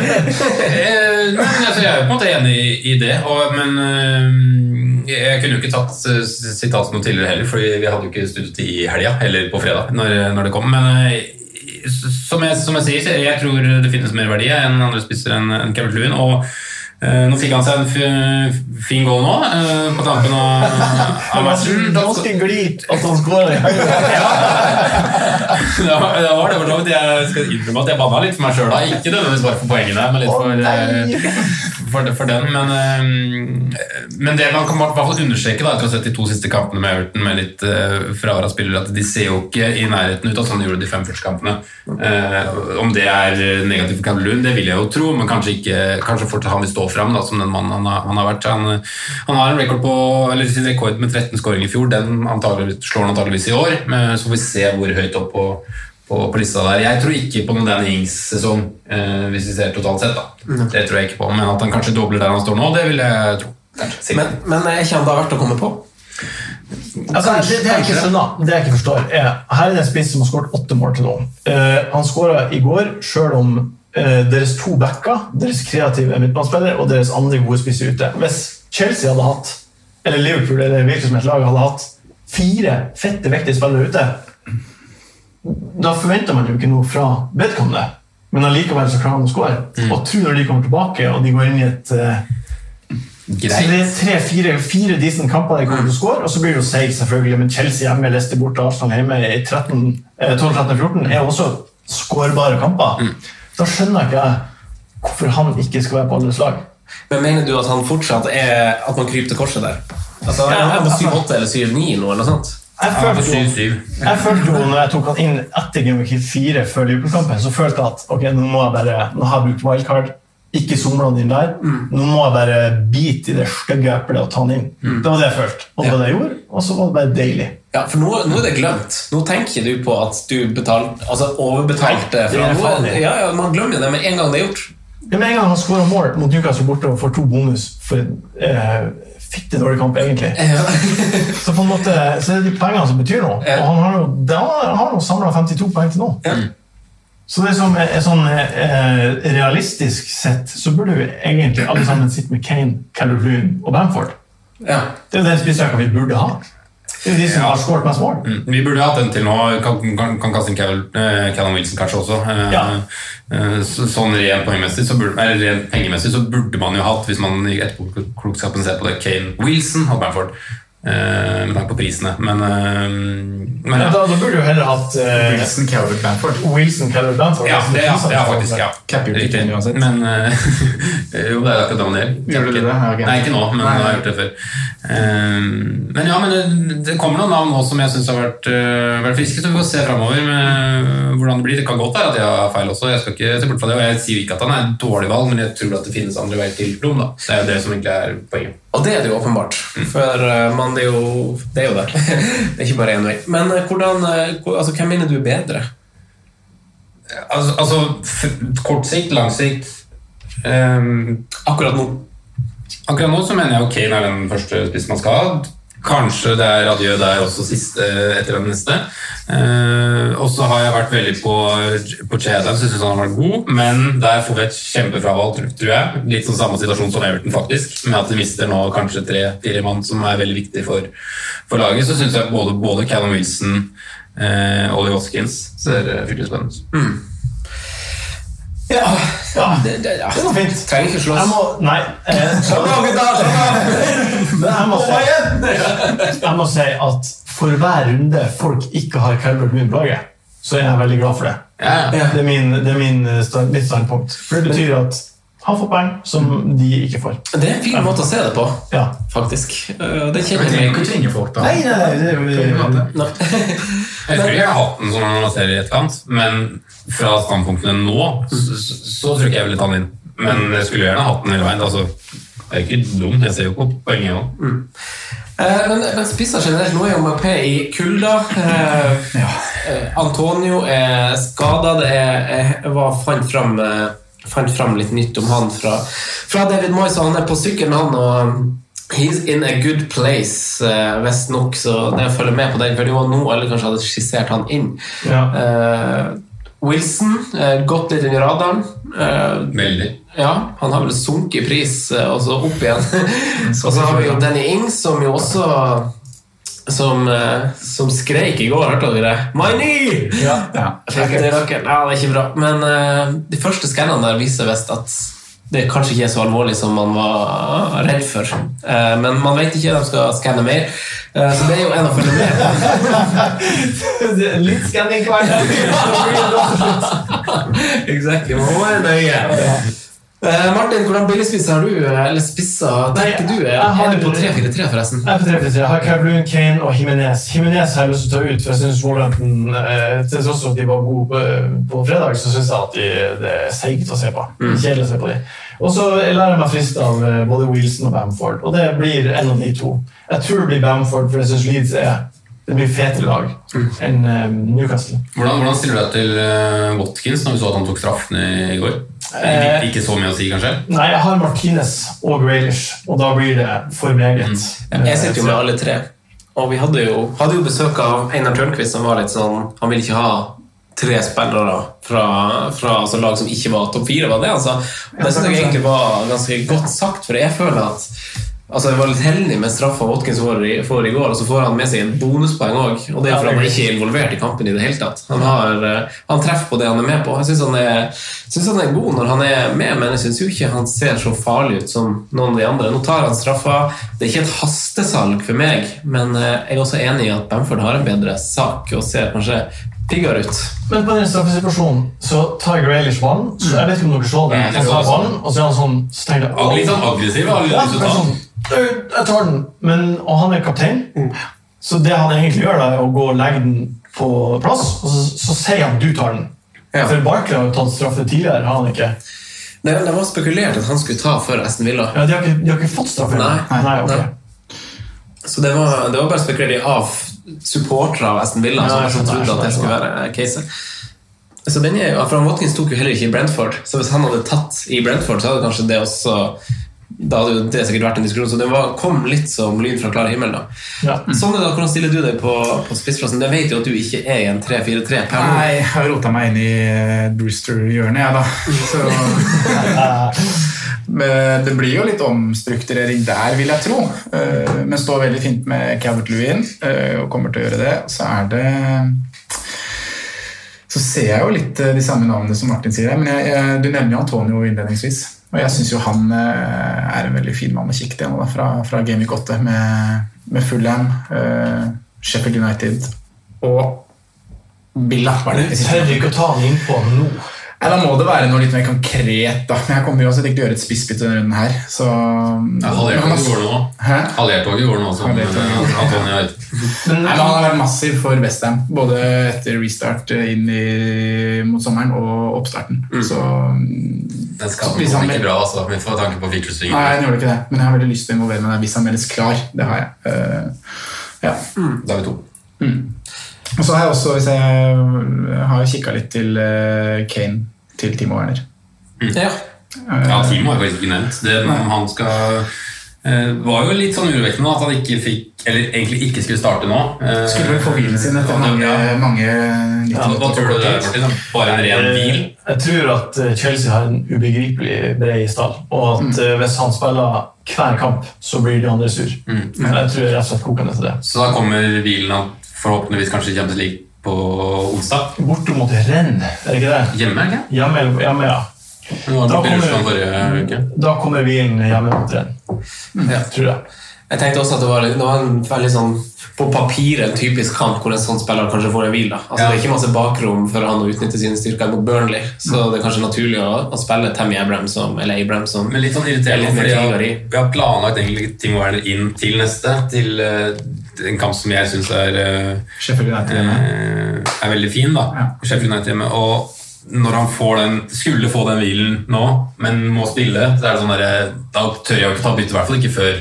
G: Eh, nei, men altså, jeg er jo på en måte enig i, i det, og, men eh, jeg kunne jo ikke tatt eh, sitat noe tidligere heller, fordi vi hadde jo ikke studert i helga, eller på fredag, når, når det kom. Men eh, s- som, jeg, som jeg sier, så jeg tror det finnes mer verdi enn andre spisser enn enn Kevin Lewin. Og eh, nå fikk han seg en f fin goal nå, eh, på tampen av, av matchen.
D: Ganske glid at han skårer.
G: Det var det, var det for så vidt. Jeg skal innrømme at jeg banna litt for meg sjøl da. Ikke nødvendigvis bare for poengene, men litt for, eh, for, for den. Men, eh, men det man kan i hvert fall understreke da, etter å ha sett de to siste kampene med Everton med litt eh, fravær av spillere, at de ser jo ikke i nærheten ut av sånn de gjorde de fem første kampene. Eh, om det er negativt for Kamelun, det vil jeg jo tro, men kanskje, ikke, kanskje fortsatt han vil stå fram da, som den mannen han har, han har vært. Han, eh, han har en rekord på, eller sin rekord med 13 skåringer i fjor, den antagelig- slår han antageligvis i år. Men så får vi se hvor høyt opp på, på, på lista der. Jeg tror ikke på noen Dan Ings-sesong, eh, hvis vi ser totalt sett. da. Det tror jeg ikke på, men at han kanskje dobler der han står nå, det vil jeg tro.
C: Men, men er ikke han da verdt å komme på?
D: Altså, det, det, jeg ikke skjønner, det jeg ikke forstår, er Her er det en spiss som har skåret åtte mål til nå. Eh, han skåra i går, sjøl om eh, deres to backer, deres kreative midtbanespillere og deres andre gode spisser ute. Hvis Chelsea hadde hatt, eller Liverpool eller hvilket som helst lag hadde hatt fire fette, vektige spillere ute, da forventer man jo ikke noe fra vedkommende. Men allikevel så klarer han å skåre. Og tror når de kommer tilbake, og de går inn i et eh, så det er tre, fire, fire decent kamper de kommer til å score, og så blir det jo seig, selvfølgelig. Men Chelsea hjemme, Leicester borte, Arsenal hjemme i 13, eh, 12, 13, 14 er også skårbare kamper. Da skjønner ikke jeg hvorfor han ikke skal være på alles lag.
C: Men mener du at han fortsatt er At man kryper til korset der? Altså,
D: Ja,
C: han er på
D: altså-
C: 7-8 eller 7-9 nå, eller noe sånt?
D: Jeg følte, jo, jeg følte jo når jeg tok han inn etter Gameweek 4 før Liverpool-kampen, så følte jeg at ok, nå må jeg bare, nå har jeg brukt wildcard, ikke somla han inn der. Nå må jeg bare bite i det stygge eplet og ta han inn. Det var det jeg følte. Og det var det jeg gjorde, og så var det bare deilig.
C: Ja, for nå, nå er det glemt. Nå tenker du på at du betalt, altså overbetalte.
D: det er
C: Fra nå,
D: farlig.
C: ja, ja, man glemmer det med en gang det er gjort.
D: Ja, med en gang han skårer mål mot Newcastle borte og får to bonus for en eh, fitte dårlig kamp, egentlig. så på en måte, så er det de poengene som betyr noe. Og han har jo da har han samla 52 poeng til nå. Så det som er, er sånn eh, realistisk sett, så burde jo egentlig alle sammen sitte med Kane, Calvert-Lewin og Bamford. Det er jo den spissrekka vi burde ha. Det er jo de som har skåret mest mål.
G: Mm. Vi burde hatt den til nå. Kan, kan, kan kaste inn Cal- eh, Callum Wilson kanskje også. Eh, eh, så- Sånn rent poengmessig så burde, eller rent pengemessig så burde man jo hatt, hvis man i etterpåklokskapen ser på det, Kane Wilson og Bamford. eh, Med tanke på prisene. Men, eh, men
D: Ja,
G: ja.
D: da, da burde du heller hatt eh,
E: Wilson, Calvert, Bamford.
D: Wilson, Calvert, Bamford.
G: Ja, det, ja, det er faktisk ja. Riktig. Men eh, Jo, det er akkurat det man gjør.
E: Gjør du det? Ja, ok.
G: Nei, ikke nå, men
E: Nei.
G: jeg har gjort det før. Eh, Men ja, men det, det kommer noen navn nå som jeg syns har vært, eh, vært friske, så vi får se framover eh, hvordan det blir. Det kan godt være at jeg har feil også, jeg skal ikke se bort fra det. Og jeg sier ikke at han er et dårlig valg, men jeg tror at det finnes andre veier til Blom, da. Det er jo det som egentlig er poenget.
C: Og det er det jo åpenbart. For eh, man, det, er jo, det er jo det. det er ikke bare én vei. Men eh, hvordan, eh, hvor- altså, hvem mener du er bedre?
G: Altså, altså f kort sikt, lang sikt ehm, Akkurat nå? Akkurat nå så mener jeg jo Kane er den første spissen man skal ha. Kanskje det er adjø der også siste, etter den neste. Eh, og så har jeg vært veldig på, på Chedan, syns han har vært god, men der får vi et kjempefravalg, tror- tror jeg. Litt sånn samme situasjon som Everton, faktisk, med at de mister nå kanskje tre-fire mann som er veldig viktig for, for laget. Så syns jeg både, både Callum Wilson eh, Ollie Watkins ser eh, fryktelig spennende ut.
J: Ja, det, det, ja. det var fint.
E: Trenger ikke slåss.
D: Jeg må, nei. Eh, slapp av, gutta, slapp av. Men jeg må, si, jeg må si at for hver runde folk ikke har Calvert Moon på laget, så er jeg veldig glad for det. Det er, min, det er min eh, stand, mitt standpunkt. For det betyr at han får poeng som de ikke får.
E: Det er en fin måte å se det på, faktisk. Eh, Det kjenner jeg
D: Men
E: trenger folk,
D: Nei, nei, nei, det er jo...
G: Jeg tror ikke jeg har hatt den som analyserer i etterkant, men fra standpunktene nå, så, så, så tror ikke jeg jeg ville ta den inn. Men jeg skulle gjerne hatt den hele veien. Altså, jeg er ikke dum, jeg ser jo på poenget òg.
E: Eh, Men, men spisser generelt Nå er jo MAP i kulda. Eh, eh, Antonio er skada. Jeg var, fant, fram, eh, fant fram litt nytt om han fra, fra David Moyes. og Han er på sykkelen, han. og um, He's in a good place, eh, visst nok, så det følger med på den. For det var nå alle kanskje hadde skissert han inn. Eh, Wilson, eh, gått litt under radaren. Eh,
G: Veldig.
E: ja, han har vel sunket i pris, eh, og så opp igjen. og så har vi jo Danny Ings, som jo også Som, eh, som skreik i går, hørte dere det? My knee! Fikk det i rakken. Ja, det er ikke bra. Men eh, de første skannene der viser visst at det kanskje ikke er så alvorlig som man var redd for. Eh, men man vet ikke, de skal skanne mer. Eh, så det er jo en å følge med på.
D: Litt skanning hver
E: Exactly. Man må være nøye. Eh, Martin, hvordan billigspisser har du? eh, Eller spisser tenker du? Er,
D: jeg har-
E: er du på 3-4-3, forresten?
D: Jeg er på tre for tre. Jeg har Calvin, Kane og Jimenez. Jimenez har jeg lyst til å ta ut, for jeg synes Wolverhampton eh, Til tross for at de var gode på, eh, på fredag, så synes jeg at de, det er seigt å se på.
C: Mm.
D: Kjedelig å se på de. Og så lar jeg meg friste av eh, både Wilson og Bamford, og det blir en av de to. Jeg tror det blir Bamford, for jeg synes Leeds er det blir fetere lag
E: Mm.
D: enn eh, Newcastle.
G: Hvordan, hvordan stiller du deg til eh, Watkins når vi så at han tok straffene i går?
D: Eh,
G: Ikke- ikke så mye å si, kanskje?
D: Nei, jeg har Martinez og Graylish, og da blir det for meget.
E: Mm. Jeg sitter jo med alle tre. Og vi hadde jo, hadde jo besøk av Einar Tørnquist, som var litt sånn Han ville ikke ha tre spillere fra, fra altså lag som ikke var topp fire, var det han sa? Og Det syns jeg egentlig var ganske godt sagt, for jeg føler at Altså, Jeg var litt heldig med straffa Watkins får i, får i går, og så får han med seg en bonuspoeng òg. Og det er fordi han ikke er involvert i kampen i det hele tatt. Han, har, eh, han treffer på det han er med på. Jeg syns han, er- synes han er god når han er med, men jeg syns jo ikke han ser så farlig ut som noen av de andre. Nå tar han straffa. Det er ikke et hastesalg for meg, men eh, jeg er også enig i at Bamford har en bedre sak og ser kanskje piggere ut.
D: Men på den straffesituasjonen så tar Graylish ballen. Så jeg vet ikke om dere så
E: Mm,
D: det.
E: jeg
D: Han
E: så
D: tar
E: det.
D: ballen, og så er han sånn så tenker jeg,
G: Litt sånn aggressiv, har litt
D: Ja,
G: lyst til å
D: det er
G: ta.
D: sånn, «Øh, Jeg tar den. Men, og han er kaptein. Så det han egentlig gjør, da, er å gå og legge den på plass, og så, så sier han du tar den. For Barkley har jo tatt straffe tidligere. har han ikke?
E: Det, det var spekulert at han skulle ta for Aston Villa.
D: Ja, De har ikke, de har ikke fått straffe.
E: Nei.
D: Nei, ok.
E: Så det var, det var bare spekulert i av supportere av Aston Villa.
D: Ja,
E: som
D: jeg
E: kanskje
D: skjønner,
E: trodde at det
D: jeg
E: skulle
D: skjønner.
E: være eh, caset. Så den er, jo- for han Watkins tok jo heller ikke i Brentford, så hvis han hadde tatt i Brentford, så hadde kanskje det også da hadde jo det sikkert vært en diskusjon, så det var, kom litt som lyd fra klar himmel. da.
C: Mm.
E: Sånn er det, Hvordan stiller du deg på, på spissplassen? Jeg vet jo at du ikke er i en 3-4-3 per nå.
C: Nei, jeg har rota meg inn i eh, Brewster-hjørnet, jeg, da.
D: Eh,
C: Så, men Eh, det blir jo litt omstrukturering der, vil jeg tro. Eh, Men står veldig fint med Calvert Lewin eh, og kommer til å gjøre det. Så er det Så ser jeg jo litt eh, de samme navnene som Martin sier her, men jeg, jeg, du nevner jo Antonio innledningsvis. Og jeg syns jo han eh, er en veldig fin mann å kikke til nå, da, fra, fra Game Week 8 med, med Fulham, eh, Sheffield United og Billa. var det.
D: Du tør ikke å ta den innpå nå.
C: Nei, Da må det være noe litt mer konkret. da Men jeg kommer jo også til å gjøre et spissbytte denne runden her. Så
G: Ja, Halvhjertet går nå.
C: Hæ?
G: Halvhjertet går nå, som eh, Antonio er ute.
C: Nei, men Han har vært massiv for Westham, både etter restart eh, inn i, mot sommeren og oppstarten. Så
G: Den skaden kom ikke bra, altså, med for tanke på featuresvingen.
C: Nei, han gjorde ikke det, men jeg har veldig lyst til å involvere meg der hvis han meldes klar. Det har jeg. Eh, ja.
G: Da er vi to.
C: Og så har jeg også hvis jeg har jo kikka litt til eh, Kane til Timo Werner.
G: Ja, Timo har jeg faktisk ikke nevnt. Det, han skal Eh, var jo litt sånn urovekkende at han ikke fikk Eller egentlig ikke skulle starte nå. Eh,
E: Skulle vel få hvilen sin etter eh,
G: og det-
E: mange, mange
G: ja, Hva tror du det er, Martin? Bare en ren hvil?
D: Eh, Jeg tror at eh, Chelsea har en ubegripelig bred stall. Og at
E: Mm.
D: eh, hvis han spiller hver kamp, så blir de andre sur.
G: Mm.
D: Men Jeg tror rett og slett kokende til det.
G: Så da kommer hvilen at forhåpentligvis kanskje Champions League på onsdag?
D: Borte mot Renn, er det ikke det?
G: Hjemme, er det ikke?
D: Hjemme, hjemme ja.
G: Hun var
D: Da
G: borte i
D: kommer- Mm.
G: Russland sånn forrige uke.
D: Da kommer hvilen hjemme mot Renn.
E: Mm.
C: Ja.
D: Tror jeg.
C: Jeg tenkte også at det var, det var en veldig sånn på papiret en typisk kamp hvor en sånn spiller kanskje får en hvil. da. Altså, Det er ikke masse bakrom for han å utnytte sine styrker mot Burnley, så det er kanskje naturlig å, å spille Tammy Abraham som, eller Abraham som
G: Men litt sånn
C: er
G: irriterende,
C: litt mer
G: fordi jeg
C: kriger
G: har,
C: i.
G: jeg har planlagt egentlig ting å være inn til neste, til eh, en kamp som jeg syns er eh,
E: Sheffield United
G: eh, er veldig fin, da. Sheffield United hjemme. Og når han får den, skulle få den hvilen nå, men må spille, så er det sånn der, da tør jeg jo ikke ta bytte, i hvert fall ikke før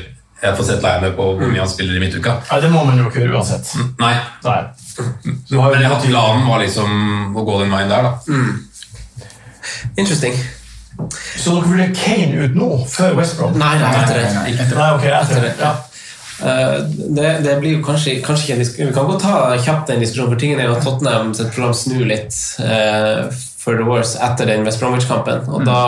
G: jeg får sett leiene på hvor mye han spiller i midtuka.
D: Nei, det må man jo ikke gjøre uansett.
G: Nei.
D: Nei.
G: Mm. Men jeg har planen var liksom å gå den veien der, da.
C: Interesting.
D: Så dere vurderer Kane ut nå, før West Brom?
C: Nei, nei, etter det.
D: Nei, ok, etter det. Ja.
C: Eh, det, det blir jo kanskje, kanskje ikke en diskusjon Vi kan godt ta kjapt den diskusjonen, for tingen er jo at Tottenham sitt program snur litt eh, for the worse etter den West Bromwich-kampen. Og da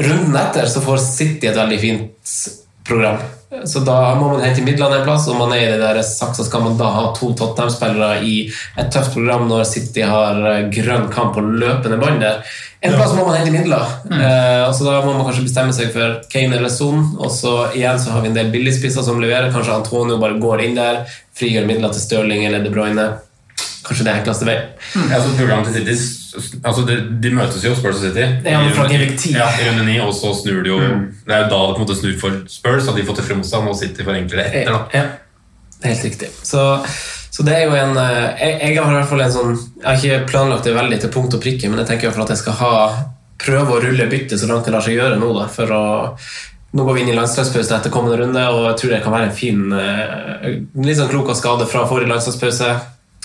C: runden etter så får City et veldig fint program. Så da må man hente midlene en plass, og man er i det der saksa skal man da ha to Tottenham-spillere i et tøft program når City har eh, grønn kamp og løpende bånd der. En plass må man hente midler, eh, og så da må man kanskje bestemme seg for Kane eller Son. Og så igjen så har vi en del billigspisser som leverer. Kanskje Antonio bare går inn der, frigjør midler til Stirling eller De Bruyne. Kanskje det er enkleste vei.
G: Altså, programmet til City s- altså, de, de møtes jo, Spurs og City.
C: Ja, men fra
G: I runde-
C: Direkt ti.
G: ja, i runde ni, og så snur det jo Det er jo da det på en måte snur for Spurs, og de får tøffere motstand, og City får enklere etter. da
C: Ja, helt riktig. Så, så det er jo en eh, jeg, jeg har i hvert fall en sånn Jeg har ikke planlagt det veldig til punkt og prikke, men jeg tenker i hvert fall at jeg skal ha prøve å rulle byttet så langt det lar seg gjøre nå, da, for å nå går vi inn i landslagspause etter kommende runde, og jeg tror det kan være en fin eh, Litt sånn klok av skade fra forrige landslagspause.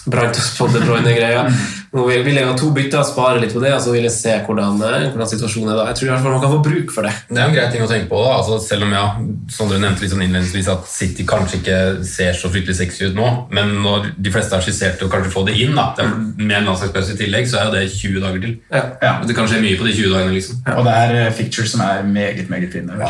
C: Brant oss på De Bruyne-greia. Nå vil vil jeg ha to bytter, spare litt på det, og så vil jeg se hvordan, eh, hvordan situasjonen er da. Jeg tror i hvert fall man kan få bruk for det.
G: Det er jo en grei ting å tenke på. da, altså Selv om ja, som dere nevnte litt sånn innledningsvis at City kanskje ikke ser så fryktelig sexy ut nå, men når de fleste har skissert å kanskje få det inn, da, det er med en landslagspause i tillegg, så er jo det 20 dager til. Det kan skje mye på de 20 dagene, liksom.
E: Og det er eh, fictures som er meget, meget fine.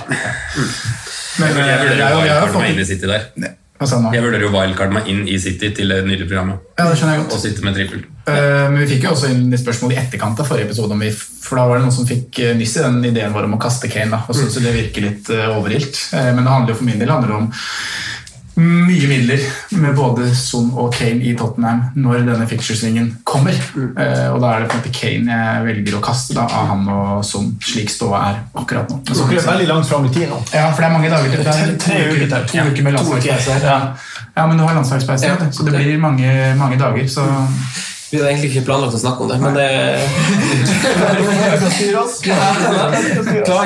G: Men jeg
E: jeg-
G: vurderer jo
E: jeg- jeg har
G: wildcard meg
E: fått-
G: inn i City der.
E: Hva sa han da?
G: Jeg vurderer jo wildcard meg inn i City til det nye programmet.
E: Ja, det skjønner jeg godt.
G: Og sitte med trippel.
E: Eh, Men vi fikk jo også inn litt spørsmål i etterkant av forrige episode, om vi, for da var det noen som fikk eh, nyss i den ideen vår om å kaste Kane, da, og syntes jo det virker litt eh, overilt. Eh, Men det handler jo for min del handler det om mye midler med både Son og Kane i Tottenham når denne fixture-svingen kommer. Eh, Og da er det på en måte Kane jeg velger å kaste da, av han og Son, slik ståa er akkurat nå.
D: Så dere er veldig langt fram i tid nå.
E: Ja, for det er mange dager til. Det er
D: Tre- tre
E: to
D: uker til.
E: To uker med
D: Ja, to uker.
E: landslagspause. Ja. ja, men du har landslagspause, vet du, så det blir mange, mange dager. Så
C: Vi hadde egentlig ikke planlagt å snakke om det, men det Klarer ikke det, jeg tror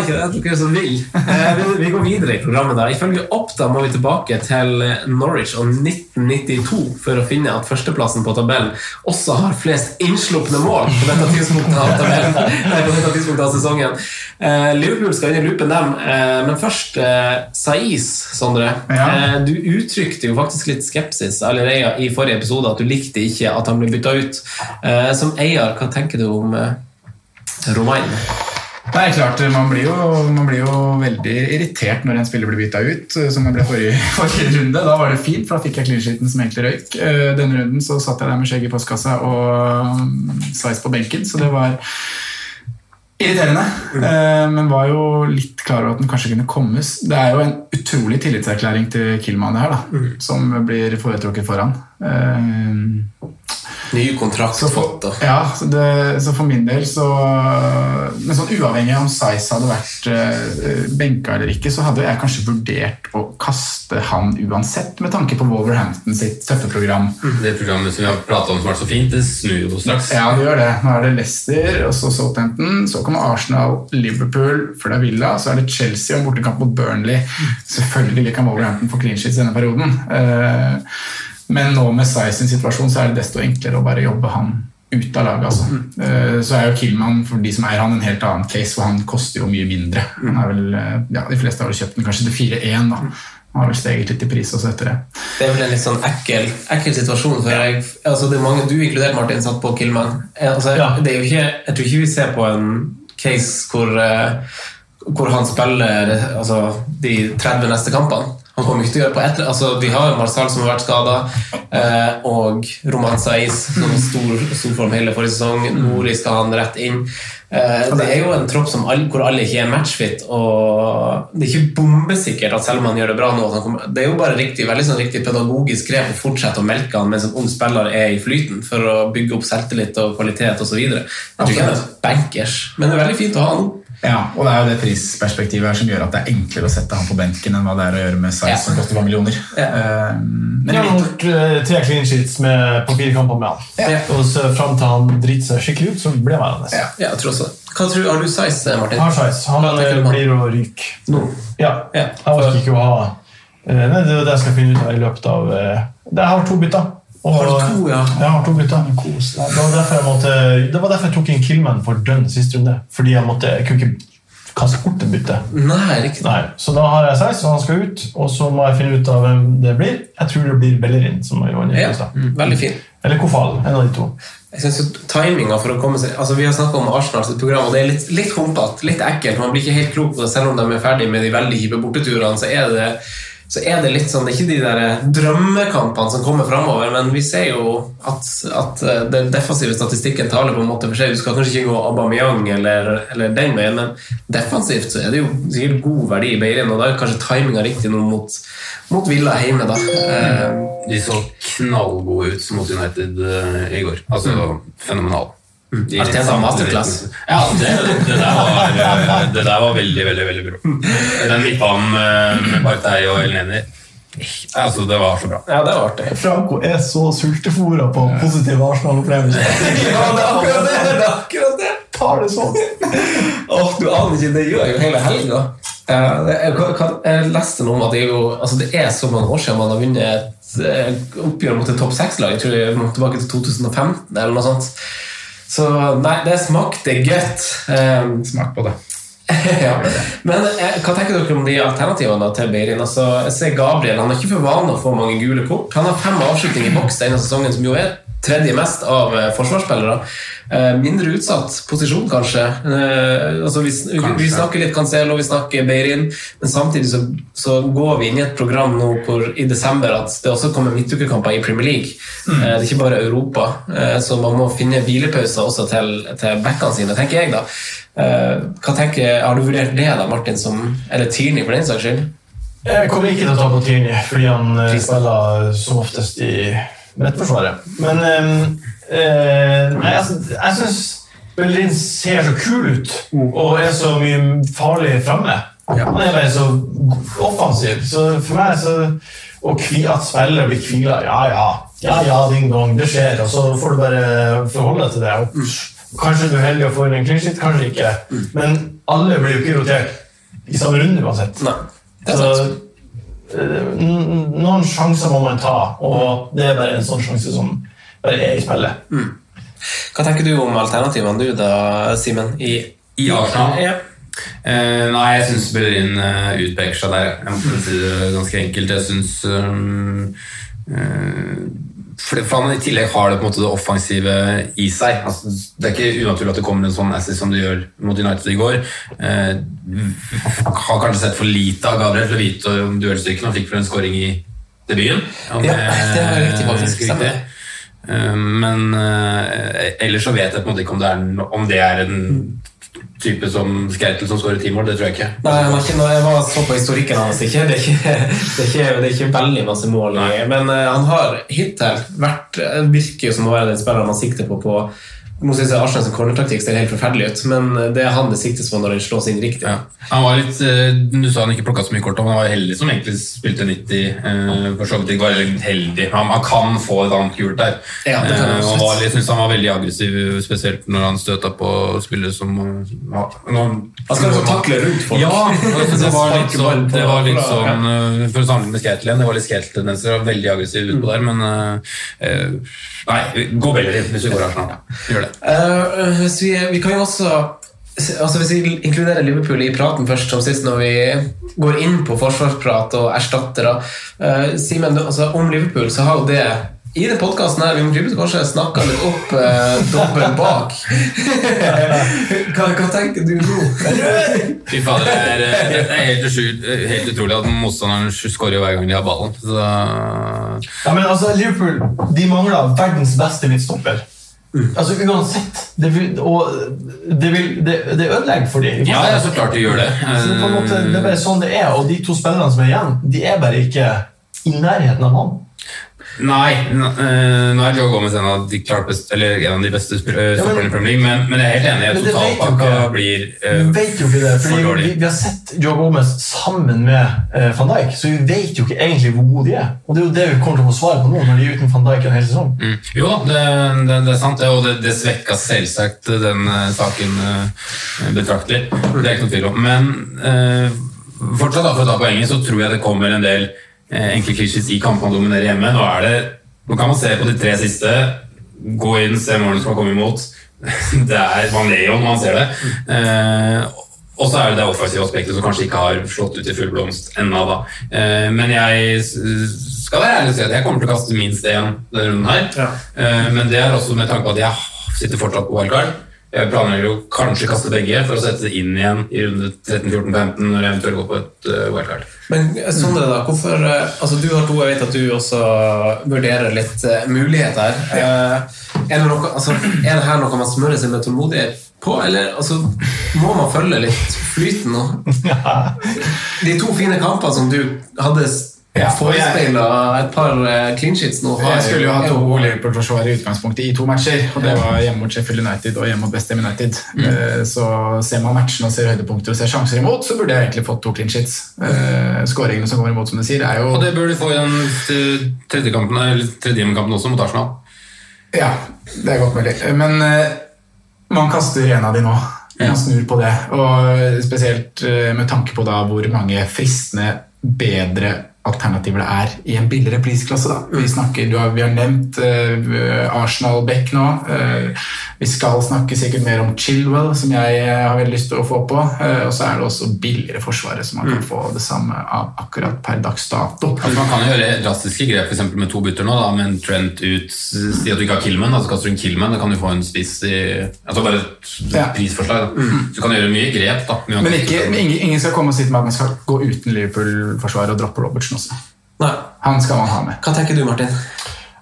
C: ikke det er så vill. Eh, vi- Vi går videre i programmet. da. Ifølge Oppda må vi tilbake til eh, Norwich og 1992 for å finne at førsteplassen på tabellen også har flest innslupne mål på dette tidspunktet av tabellen Nei, på dette tidspunktet av sesongen. Eh, Liverpool skal inn i loopen, dem. Eh, Men først eh, Saiz, Sondre. Eh, Du uttrykte jo faktisk litt skepsis allerede i forrige episode at du likte ikke at han ble bytta ut. Eh, Som eier, hva tenker du om eh, Romain?
E: Nei, klart, man blir, jo, man blir jo veldig irritert når en spiller blir bytta ut, eh, som jeg ble forrige, forrige runde. Da var det fint, for da fikk jeg clean-sheeten som egentlig røyk. Eh, Denne runden så satt jeg der med skjegget i postkassa og mm, sveis på benken, så det var irriterende. Eh, Men var jo litt klar over at den kanskje kunne kommes. Det er jo en utrolig tillitserklæring til Killman det her, da, som blir foretrukket foran. Eh,
C: Ny kontrakt
E: så for, ja, så, det, så for min del så Men sånn uavhengig av om Size hadde vært eh, benka eller ikke, så hadde jeg kanskje vurdert å kaste han uansett, med tanke på Wolverhampton sitt tøffe program.
G: Det programmet som vi har pratet om som har vært så fint, det snur jo straks.
E: Ja, det gjør det. Nå er det Leicester, og så Southampton. Så kommer Arsenal, Liverpool, for det er Villa. Så er det Chelsea og en bortekamp mot Burnley. Selvfølgelig kan Wolverhampton få clean sheets i denne perioden. Eh, Men nå med Sai sin situasjon så er det desto enklere å bare jobbe han ut av laget. Altså. Eh, Så er jo Killman for de som eier han en helt annen case, for han koster jo mye mindre. Han er vel, eh, ja, De fleste har vel kjøpt den kanskje til 4-1. da. Han har vel steget litt i pris også etter det.
C: Det er vel en litt sånn ekkel, ekkel situasjon. For jeg, altså det er mange du inkludert, Martin, satt på Killman. Eh, Altså, det er jo ikke, jeg tror ikke vi ser på en case hvor, eh, hvor han spiller eh, altså, de 30 neste kampene. Han kommer ikke til å gjøre på ett altså, Vi har jo Marsal som har vært skada, eh, og Roman Saiz som i stor, stor form hele forrige sesong. Nori skal han rett inn. Eh, det er jo en tropp som alle, hvor alle ikke er matchfit, og det er ikke bombesikkert at selv om han gjør det bra nå at han kommer, Det er jo bare riktig, veldig sånn riktig pedagogisk grep å fortsette å melke han mens en ung spiller er i flyten, for å bygge opp selvtillit og kvalitet osv. Jeg tror ikke han er bankers, men det er veldig fint å ha han
E: Ja, og det er jo det prisperspektivet her som gjør at det er enklere å sette han på benken enn hva det er å gjøre med Size, som koster mange millioner. Eh,
D: Men jeg har gjort eh, tre clean sheets med, på fire kamper med han. Og så fram til han driter seg skikkelig ut, så blir han værende.
C: Ja, jeg tror også det. Hva tror, har du size, Martin?
D: Har size. Han eh,
C: Hva tenker du på?
D: blir å ryke. Ja. Jeg orker ikke å ha eh, Nei, Det er jo det jeg skal finne ut av i løpet av eh, det- Jeg har to bytter. Og, har to,
C: ja?
D: Jeg har to bytter. Men Kos. deg. Det var, derfor jeg måtte, det var derfor jeg tok inn Killman for dønn sist runde. Fordi jeg, måtte, jeg kunne ikke kaste bort et bytte.
C: Nei, riktig.
D: Nei, så da har jeg Seis, og han skal ut. Og så må jeg finne ut av hvem det blir. Jeg tror det blir Bellerin. som er Johan
C: Ja,
D: Jørgensen.
C: veldig fin.
D: Eller Kofal. En av de to.
C: Jeg synes jo timinga for å komme seg Altså Vi har snakka om Arsenal sitt program, og det er litt, litt humpete. Litt ekkelt. Man blir ikke helt klok på det, selv om de er ferdig med de veldig hive borteturene. Så er det så er det litt sånn, det er ikke de der drømmekampene som kommer framover, men vi ser jo at, at eh, den defensive statistikken taler på en måte for seg. Du skal kanskje ikke gå Aubameyang eller, eller den veien, men defensivt så er det jo sikkert god verdi i Beirin, og da er kanskje timinga riktig nå mot, mot Villa hjemme, da. Eh,
G: De så knallgode ut mot United eh, i går. Altså, fenomenal. De-
C: Arteta masterclass.
G: Ja, det, det, der var, eh, det der var veldig, veldig veldig bra. Den midtbanen eh, med Partey og El Neni altså, Det var så bra.
C: Ja, det var artig.
D: Franco er så sultefòra på positive Arsenal-opplevelser.
C: Ja, det er akkurat det! det er akkurat det.
D: Tar det sånn.
C: Åh, du aner ikke, det gjør jo hele helga. Eh, det- Jeg, hva- hva- jeg leste noe om at det er, jo, altså det er så mange år siden man har vunnet et eh, oppgjør mot et topp seks-lag. Jeg tror jeg må tilbake til 2015 eller noe sånt. Så nei, det smakte godt. Eh,
E: Smak på det.
C: ja. Men eh, hva tenker dere om de alternativene da til Beirin? Altså, jeg ser Gabriel han har ikke for vane å få mange gule kort. Han har fem avslutninger i boks denne sesongen, som jo er tredje mest av eh, forsvarsspillere. Eh, mindre utsatt posisjon, kanskje. Eh, altså, vi, sn-
G: Kanskje.
C: vi snakker litt Cancelo, vi snakker Beirin, men samtidig så, så går vi inn i et program nå hvor, i desember at det også kommer midtukekamper i Premier League.
G: Mm.
C: Eh, det er ikke bare Europa, eh, så man må finne hvilepauser også til, til backene sine, tenker jeg, da. Eh, hva tenker, har du vurdert det, da, Martin, som, eller Tierney for den saks skyld?
D: Jeg kommer ikke til å ta på Tierney, fordi han eh, spiller som oftest i rettforsvaret. Men eh, eh, nei, altså, jeg syns Bellerin ser så kul ut og er så mye farlig framme. Han er bare så offensiv. Så for meg så Og kvi, at spillet blir kvila Ja, ja. Ja, ja, din gang. Det skjer. Og så får du bare forholde deg til det. Og kanskje du er heldig og får en clean sheet, kanskje ikke. Men alle blir jo ikke rotert i samme runde uansett. Så, eh, n- n- noen sjanser må man ta, og det er bare en sånn sjanse som bare er i spillet.
G: Mm.
C: Hva tenker du om alternativene du da, Simen? I,
G: I Arsenal? Eh, nei, jeg syns Bellerin eh, utpeker seg der. Jeg må si det ganske enkelt. Jeg syns um, eh, for, for han i tillegg har det på en måte det offensive i seg. Altså, det er ikke unaturlig at det kommer en sånn assist som det gjør mot United i går. Eh, har kanskje sett for lite av Gabriel til å vite om duellstyrken. Han fikk vel en skåring i debuten. Eh, Om
C: Ja, det er riktig, faktisk.
G: husker riktig.
C: Stemmer.
G: Eh, Men eh, ellers så vet jeg på en måte ikke om det er, no- om det er en type som Skeitel som skårer ti mål. Det tror jeg ikke.
C: Nei, han har ikke, når jeg var så på historikken hans ikke. Det, er ikke, det, er ikke, det er ikke veldig masse mål
E: eh,
C: lenger. Men eh, han har hittil vært, virker jo som å være den spilleren man sikter på på Nå synes jeg Arsenal sin cornertaktikk ser helt forferdelig ut, men det er han det siktes på når den slås inn riktig.
G: Han var litt, eh, Du sa han ikke plukka så mye kort, og han var heldig som egentlig spilte 90. eh, For så vidt ikke var veldig heldig. Han, han kan få et annet gult der.
C: Ja, det kan han
G: Eh,
C: absolutt.
G: og var, jeg synes han var veldig aggressiv, spesielt når han støta på spillere som eh, ja, når,
C: Han skal liksom takle rundt folk.
G: Ja, altså, det, var litt sånn, det var litt sånn
C: Ja.
G: eh, For å sammenligne med Skate igjen, det var litt Skate-tendenser. han var Veldig aggressiv utpå der, men eh, eh, Nei, gå Bellerin hvis du går Arsenal. Gjør det.
C: Eh, hvis vi, vi kan jo også Altså Hvis vi inkluderer Liverpool i praten først som sist, når vi går inn på forsvarsprat og erstattere uh, Simen, du- altså, om Liverpool så har jo det i den podkasten her Vi må tydeligvis kanskje snakke litt opp uh, dobbel bak. hva, hva tenker du nå?
G: Fy fader, det er, eh, det er helt, uskyld, helt utrolig at motstanderen skårer jo hver gang de har ballen. Så,
D: Ja, men altså, Liverpool de mangler verdens beste midtstopper.
G: Mm.
D: Altså Uansett. Det vil, og det, vil, det, det ødelegger for dem.
G: Ja, altså, ja, så klart det gjør det. Eh,
D: Så på en måte, det er bare sånn det er, og de to spillerne som er igjen, de er bare ikke i nærheten av ham.
G: nei, n- eh, nå er Joe Gomez en av de, klart best, eller en av de beste sp- eh, stopperne i Premier League, men, men jeg er helt enig i
D: Men
G: at
D: det vet jo
G: totalpakka
D: ikke.
G: blir eh,
D: Vi vet jo ikke det, fordi
G: for dårlig.
D: vi, vi har sett Joe Gomez sammen med eh, van Dijk, så vi vet jo ikke egentlig hvor gode de er. Og det er jo det vi kommer til å få svar på nå, når de er uten van Dijk en hel sesong.
G: Mm. Jo da, det, det, det er sant, det, og det, det svekka selvsagt den eh, saken eh, betraktelig. Det er ikke noe tvil om. Men eh, fortsatt, da, for å ta poenget, så tror jeg det kommer en del eh, enkle klisjés i kampene man dominerer hjemme. Nå, er det, nå kan man se på de tre siste. Gå inn, se målene som har kommet imot. Det er man ler jo når man ser det. Eh, og så er det det offensive aspektet som kanskje ikke har slått ut i full blomst ennå. da. Eh, Men jeg s- skal være ærlig og si at jeg kommer til å kaste minst én denne runden her. Eh, Men det er også med tanke på at jeg sitter fortsatt på wildcard. Jeg planlegger jo kanskje kaste begge for å sette det inn igjen i runde 13-14-15 når jeg eventuelt går på et eh, wildcard.
C: Men Sondre, da, hvorfor eh, altså Du har to, jeg vet at du også vurderer litt eh, muligheter. Eh, Er det, noe, altså, er det her noe man smører seg med tålmodighet på, eller altså, må man følge litt flyten nå? De to fine kampene som du hadde
E: Ja, og jeg-
C: forespeila et par eh, clean sheets nå har
E: Jeg skulle jo ha
C: er
E: to Liverpool-forsvarere i utgangspunktet i to matcher. Og det var hjemme mot Sheffield United og hjemme mot West Ham United.
G: Mm.
E: Eh, Så ser man matchene og ser høydepunkter og ser sjanser imot, så burde jeg egentlig fått to clean sheets. Eh, Skåringene som kommer imot, som du sier, er jo
G: Og det bør du få i den eh, tredje kampen, eller tredje hjemmekampen også, mot Arsenal.
E: Ja, det er godt mulig. Men eh, man kaster en av de nå. Man snur på det. Og spesielt eh, med tanke på da hvor mange fristende, bedre alternativer det er i en billigere prisklasse. da.
C: Mm.
E: Vi snakker, du har, vi har nevnt eh, Arsenal Beck nå. Eh, vi skal snakke sikkert mer om Chilwell, som jeg eh, har veldig lyst til å få på. Eh, og så er det også billigere forsvarere som
C: Mm.
E: man kan få det samme av akkurat per dags dato.
G: Altså, man kan jo gjøre drastiske grep for eksempel med to bytter nå, da, med en Trent ut. Si at du ikke har Kilman, da, så kaster du en Kilman. Da kan du få en spiss i altså Bare et prisforslag. Da. Så du kan gjøre mye grep. da. med å-
E: Men ikke, men ingen, ingen skal komme og si til meg at man skal gå uten Liverpool-forsvaret og droppe Robertsen også. Han skal man ha med.
C: Hva tenker du, Martin?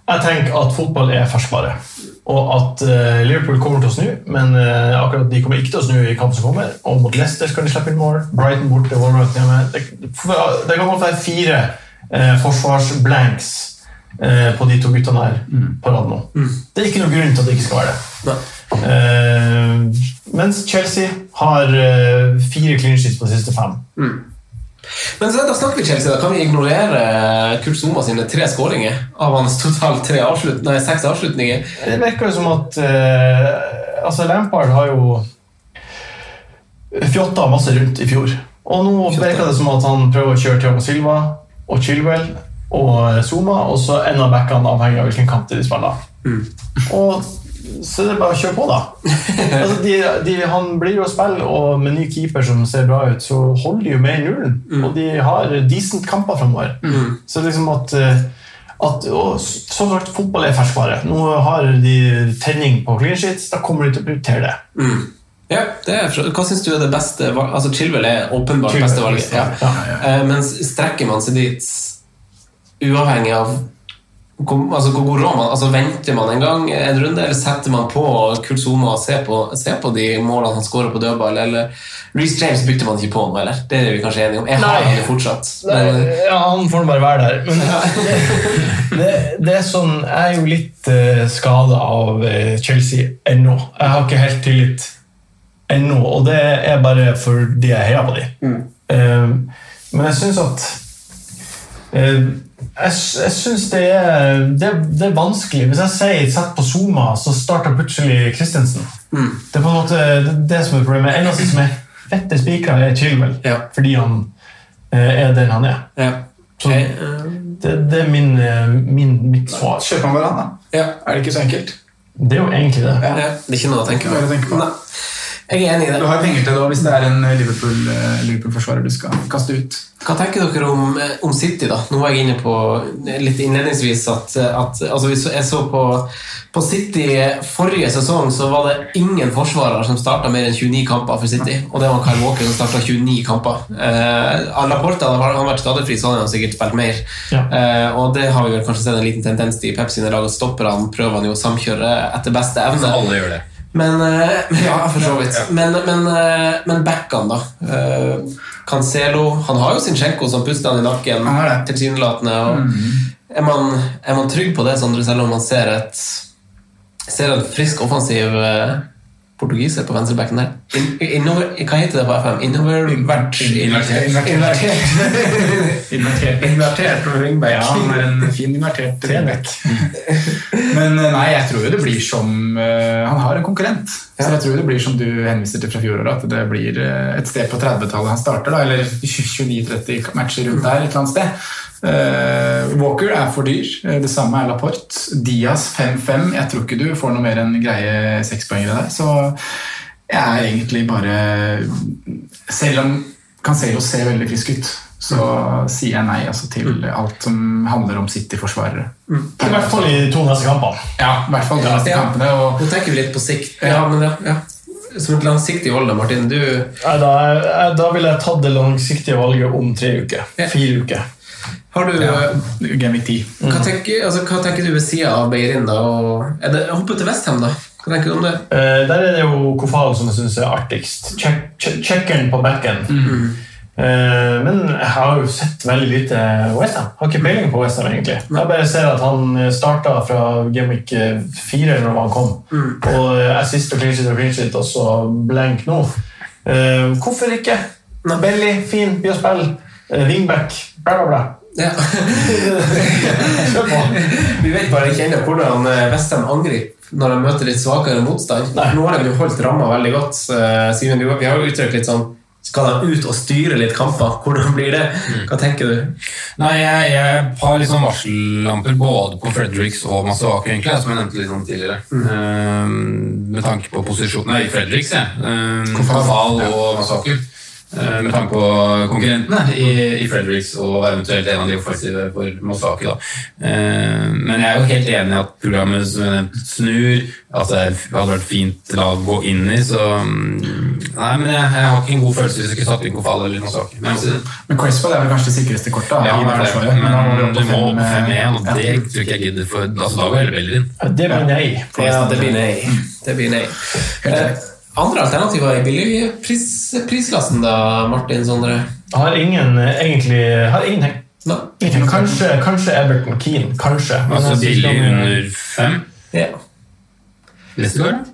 D: Jeg tenker at fotball er ferskvare. Og at eh, Liverpool kommer til å snu, men eh, akkurat de kommer ikke til å snu i kampen som kommer. Og mot Leicester skal de slippe inn mål. Brighton borte, Wolverhampton hjemme. Det, for- det kan godt være fire eh, forsvarsblanks eh, på de to guttene her på rad nå. Det er ikke noen grunn til at det ikke skal være det. Eh, mens Chelsea har eh, fire clean sheets på de siste fem.
C: Men så da snakker vi Chelsea, da kan vi ignorere eh, Kurt Zuma sine tre skåringer av hans totalt tre avslut nei, seks avslutninger.
D: Det virker jo som at eh, altså Lampard har jo fjotta masse rundt i fjor. Og nå virker det som at han prøver å kjøre Thiago Silva og Chilwell og Zuma, og så en av backene avhengig av hvilken kamp de spiller. Og så er det bare å kjøre på, da. altså de, de, han blir jo å spille, og med ny keeper som ser bra ut, så holder de jo med i nullen. Og de har decent kamper framover. Så liksom at, eh, at og, s- Som sagt, fotball er ferskvare. Nå har de tenning på clean sheets, da kommer de til å prioritere det.
C: Ja, det er, Hva syns du er det beste valget? Altså, Chilwell er åpenbart
D: Chilwell,
C: beste valget. Ja.
D: ja,
C: Eh, Men strekker man seg dit uavhengig av
E: Hvor, altså, hvor god råd man altså, Venter man en gang en runde, eller setter man på Kulsoma og ser på, ser på de målene han skårer på dødball? Eller Reece James brukte man ikke på nå, eller? Det er vi kanskje enige om. Jeg har
D: Nei.
E: han jo fortsatt. Men,
D: Nei, ja, han får nå bare være der. Men det, det, det er sånn Jeg er jo litt uh, skada av eh, Chelsea ennå. Jeg har ikke helt tillit ennå, og det er bare fordi jeg heier på dem. men jeg syns at eh, Jeg, s- jeg syns det, er- det, det er vanskelig. Hvis jeg sier 'sett på Zuma', så starter plutselig Christensen. Det er på en måte det, det som er problemet. Eneste som er fette spikra, er Chilwell. Fordi han eh, er den han er. Så eh, det, det er min, eh, min, mitt svar.
C: Kjøper han hverandre?
E: Ja.
C: Er det ikke så enkelt?
D: Det er jo egentlig det.
E: ja, det er ikke noe å tenke på.
C: Bare tenk på.
E: Jeg er enig i det.
C: Du har penger til det også, hvis det er en eh, Liverpool, eh, Liverpool-forsvarer du skal kaste ut.
E: Hva tenker dere om, eh, om City, da? Nå var jeg inne på eh, litt innledningsvis at, at altså hvis jeg så på, på City forrige sesong, så var det ingen forsvarer som starta mer enn 29 kamper for City. Og det var Kyle Walker som starta 29 kamper. Eh, Laporta han har vært skadefri, så han har jo sikkert spilt mer. Eh, og det har vi vel kanskje sett en liten tendens til i Pep sine lag, at stopperne prøver han jo å samkjøre etter beste evne.
G: Alle gjør det.
E: Men, eh, ja, for så vidt. Men, men, eh, men backene, da. Eh, Cancelo Han har jo Sinchenko som puster han i nakken, tilsynelatende. Og
C: Mm.
E: er, man, er man trygg på det, Sondre, selv om man ser et Ser en frisk, offensiv eh, portugiser på venstrebacken der? In, innover, hva heter det på FM? Innover... Invertert.
C: Invertert. Invertert. Invertert på Ringberg. Ja, han er en fin invertert wingback. Men eh, nei, jeg tror jo det blir som eh, Han har en konkurrent. Så jeg tror det blir som du henviser til fra fjoråret, at det blir eh, et sted på 30-tallet han starter, da, eller 29-30 matcher rundt der et eller annet sted. Eh, Walker er for dyr. Eh, Det samme er Laporte. Diaz 5-5. Jeg tror ikke du får noe mer enn greie sekspoengere der. Så jeg er egentlig bare Selv om Cancelo ser veldig frisk ut, så sier jeg nei altså,
E: Mm.
C: til alt som handler om City-forsvarere.
D: I hvert fall i to neste kampene.
C: Ja, i hvert fall de neste kampene. Og...
E: Nå tenker vi litt på sikt. Ja, men ja, ja. Som et langsiktig hold, da, Martin. Du
D: Nei, Da, jeg- da ville jeg tatt det langsiktige valget om tre uker. Fire uker.
E: Har du
C: Gamvik 10.
E: Hva tenker, altså, hva tenker du ved sida av Beirin, da? Og, er det, hoppe til Westham, da? Hva tenker du om det?
D: Eh, der er det jo Kofal som jeg syns er artigst. Check- check- Checkeren på backen. Eh, men jeg har jo sett veldig lite Westham. Har ikke peiling på Westham, egentlig. Jeg bare ser at han starta fra Gameweek 4 når han kom. Og eh, assist og clean sheet og clean sheet, og så blank nå. Eh, hvorfor ikke? Belly, fin, by å spille. Eh, wingback, bla, bla, bla. Kjør på.
E: Vi vet bare ikke ennå hvordan Westham angriper når de møter litt svakere motstand. Nå har de jo holdt ramma veldig godt. eh, Simen, du- vi har jo uttrykt litt sånn Skal de ut og styre litt kamper? Hvordan blir det? Hva tenker du?
G: Nei, jeg, jeg har liksom varsellamper både på Fredriks og Masuaku, egentlig, som jeg nevnte litt om tidligere. Ehm, med tanke på posisjonen Nei, Fredriks, jeg. Um, Kofal og Masuaku. Ehm, med tanke på konkurrentene i, i Fredriks og eventuelt en av de offensive for Masuaku. da. Ehm, men jeg er jo helt enig i at programmet som jeg nevnte, snur. At det hadde vært fint lag å gå inn i. Så mm, Nei, men jeg, jeg har ikke en god følelse hvis jeg ikke satt inn Kofal eller Masuaku. Men,
C: Men Crespo er vel kanskje det sikreste kortet? da,
G: ja,
C: i
G: det er
C: forsvaret.
G: det.
C: Men da må
G: Men
C: opp
G: du
C: på
G: må opp
C: fem,
G: på 5-1, og
C: eh,
G: det
C: ja.
G: tror ikke jeg gidder. For, altså, da går hele Bellerin.
D: Det blir nei.
E: Ja, det blir nei. Det blir nei. Eh, Andre alternativer i billigpris- prisklassen, da, Martin Sondre?
D: Jeg Har ingen eh, egentlig jeg Har ingenting. Ikke noe. Kanskje, kanskje Everton Keane. Kanskje. Men
G: Altså
D: jeg sånn, synes
G: billig
D: eh, han-
G: under 5.
E: Ja.
G: Neste år?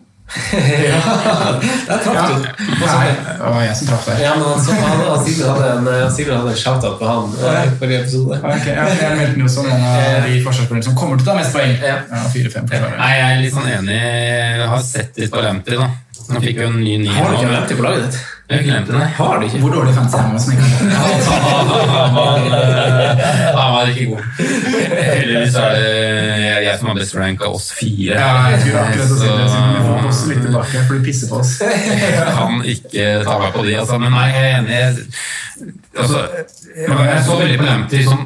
E: Der traff du.
C: Nei, det var jeg som traff der.
E: Ja, men altså, han, han Sigurd hadde en, eh, Sigurd hadde en shout-out på han eh, forrige episode. Eh.
C: Okay, ja, jeg meldte meg jo som en av de forsvarsspillerne som kommer til å ta mest poeng. Ja, fire-fem forsvarere.
G: Nei, jeg er litt sånn enig. Jeg har sett litt på Lamptey, da. Han fikk jo en ny nier.
C: Har du ikke
G: nå.
C: Lamptey på laget ditt?
G: Jeg har ikke Lamptey, nei.
E: Har du ikke?
C: Hvor dårlig fancy er man som ikke har
G: Han var, eh, han var ikke god. Heldigvis er det jeg, jeg som har best rank av oss fire.
C: Ja, jeg skulle akkurat å si det, siden vi får oss litt tilbake, for du pisser på oss.
G: Jeg kan ikke ta meg på de, altså. Men nei, jeg er enig. Jeg- Altså, jeg så veldig på Lamptey sånn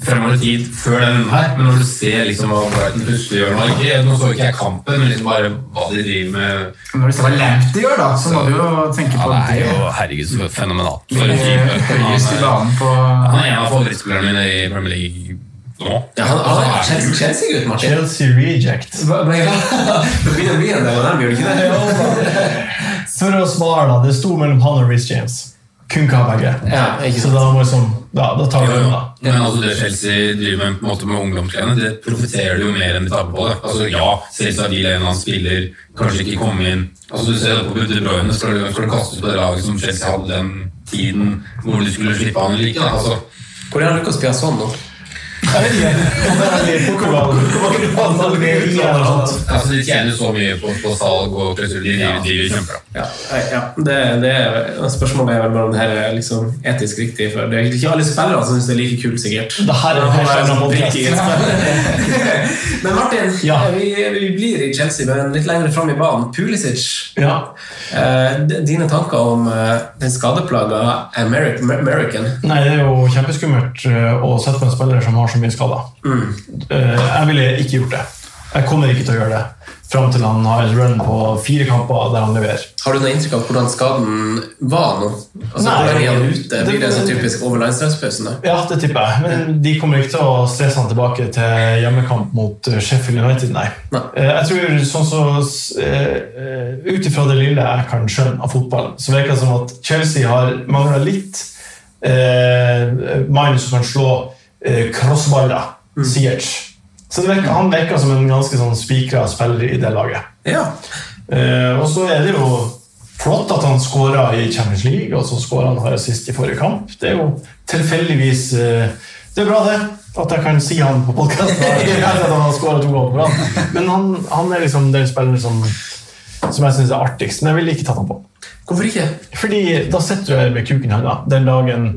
G: fremover i tid før den runden her, men når du ser liksom hva Brighton plutselig gjør nå ikke, Nå så ikke jeg kampen, men liksom bare hva de driver med
C: Når du ser hva Lamptey gjør, da, så må du jo tenke på
G: Ja, det er
C: det.
G: jo herregud, så fenomenalt. For en
C: Ligger
G: keeper.
C: høyest i banen på
G: Han er en av favorittspillerne mine i Premier League nå.
C: Ja, han, han er Chelsea- Chelsea-gutt, Martin.
D: eh, Chelsea reject.
C: Hva- ble- Det begynner å bli en del av dem, gjør det ikke det?
D: For å svare, da. Det sto mellom han og Reece James. Kun hva begge. så da må liksom, da, da tar vi den, da.
G: Men altså det Chelsea driver med, på en måte med ungdomsklærne, det profitterer du jo mer enn de tapper på det. Altså Ja, selvsagt vil en av hans spiller kanskje ikke komme inn Altså Du ser det på De Bruyne, skal du, skal du kastes på det laget som Chelsea hadde den tiden hvor du skulle slippe han eller ikke? da, Altså
C: Hvor er Lucas Piazon nå?
G: Altså De tjener jo så mye på, på salg og klausul. De driver de driver kjempebra.
C: Ja, nei, ja. Det, det er, spørsmålet er vel bare om det her er liksom etisk riktig. For det er ikke alle spillere som syns det er like kult, sikkert.
D: Det her er-
C: Men han
D: her er
C: sånn
D: noe
C: drikk i et
D: podcast.
C: spill. Men Martin, eh, vi, vi blir i Chelsea, men litt lenger fram i banen. Pulisic. Eh, d- dine tanker om eh, den skadeplaga Ameri- Mer- American?
D: Nei, det er jo kjempeskummelt eh, å sette på en spiller som har så mye skader.
G: Mm.
D: Eh, Jeg ville ikke gjort det. Jeg kommer ikke til å gjøre det fram til han har et run på fire kamper der han leverer.
C: Har du noe inntrykk av hvordan skaden var nå? Altså,
D: Nei.
C: hvordan er han ute? Blir det
D: Det-
C: sånn typisk over landslagspausen? da?
D: Ja, det tipper jeg. Men de kommer ikke til å stresse han tilbake til hjemmekamp mot eh, Sheffield United, nei. Eh, Jeg tror, sånn så, eh, ut ifra det lille jeg kan skjønne av fotball, så virker det som at Chelsea har mangla litt eh, mann som kan slå eh, crossballer. Ziyech. Så det virker, han virker som en ganske sånn spikra spiller i det laget. Eh, og så er det jo flott at han skåra i Champions League, og så skåra han her sist i forrige kamp. Det er jo tilfeldigvis eh, Det er bra, det. At jeg kan si han på podkasten. Men han, han er liksom den spilleren som, som jeg syns er artigst. Men jeg ville ikke tatt han på.
C: Hvorfor ikke?
D: Fordi da sitter du her med kuken i handa den dagen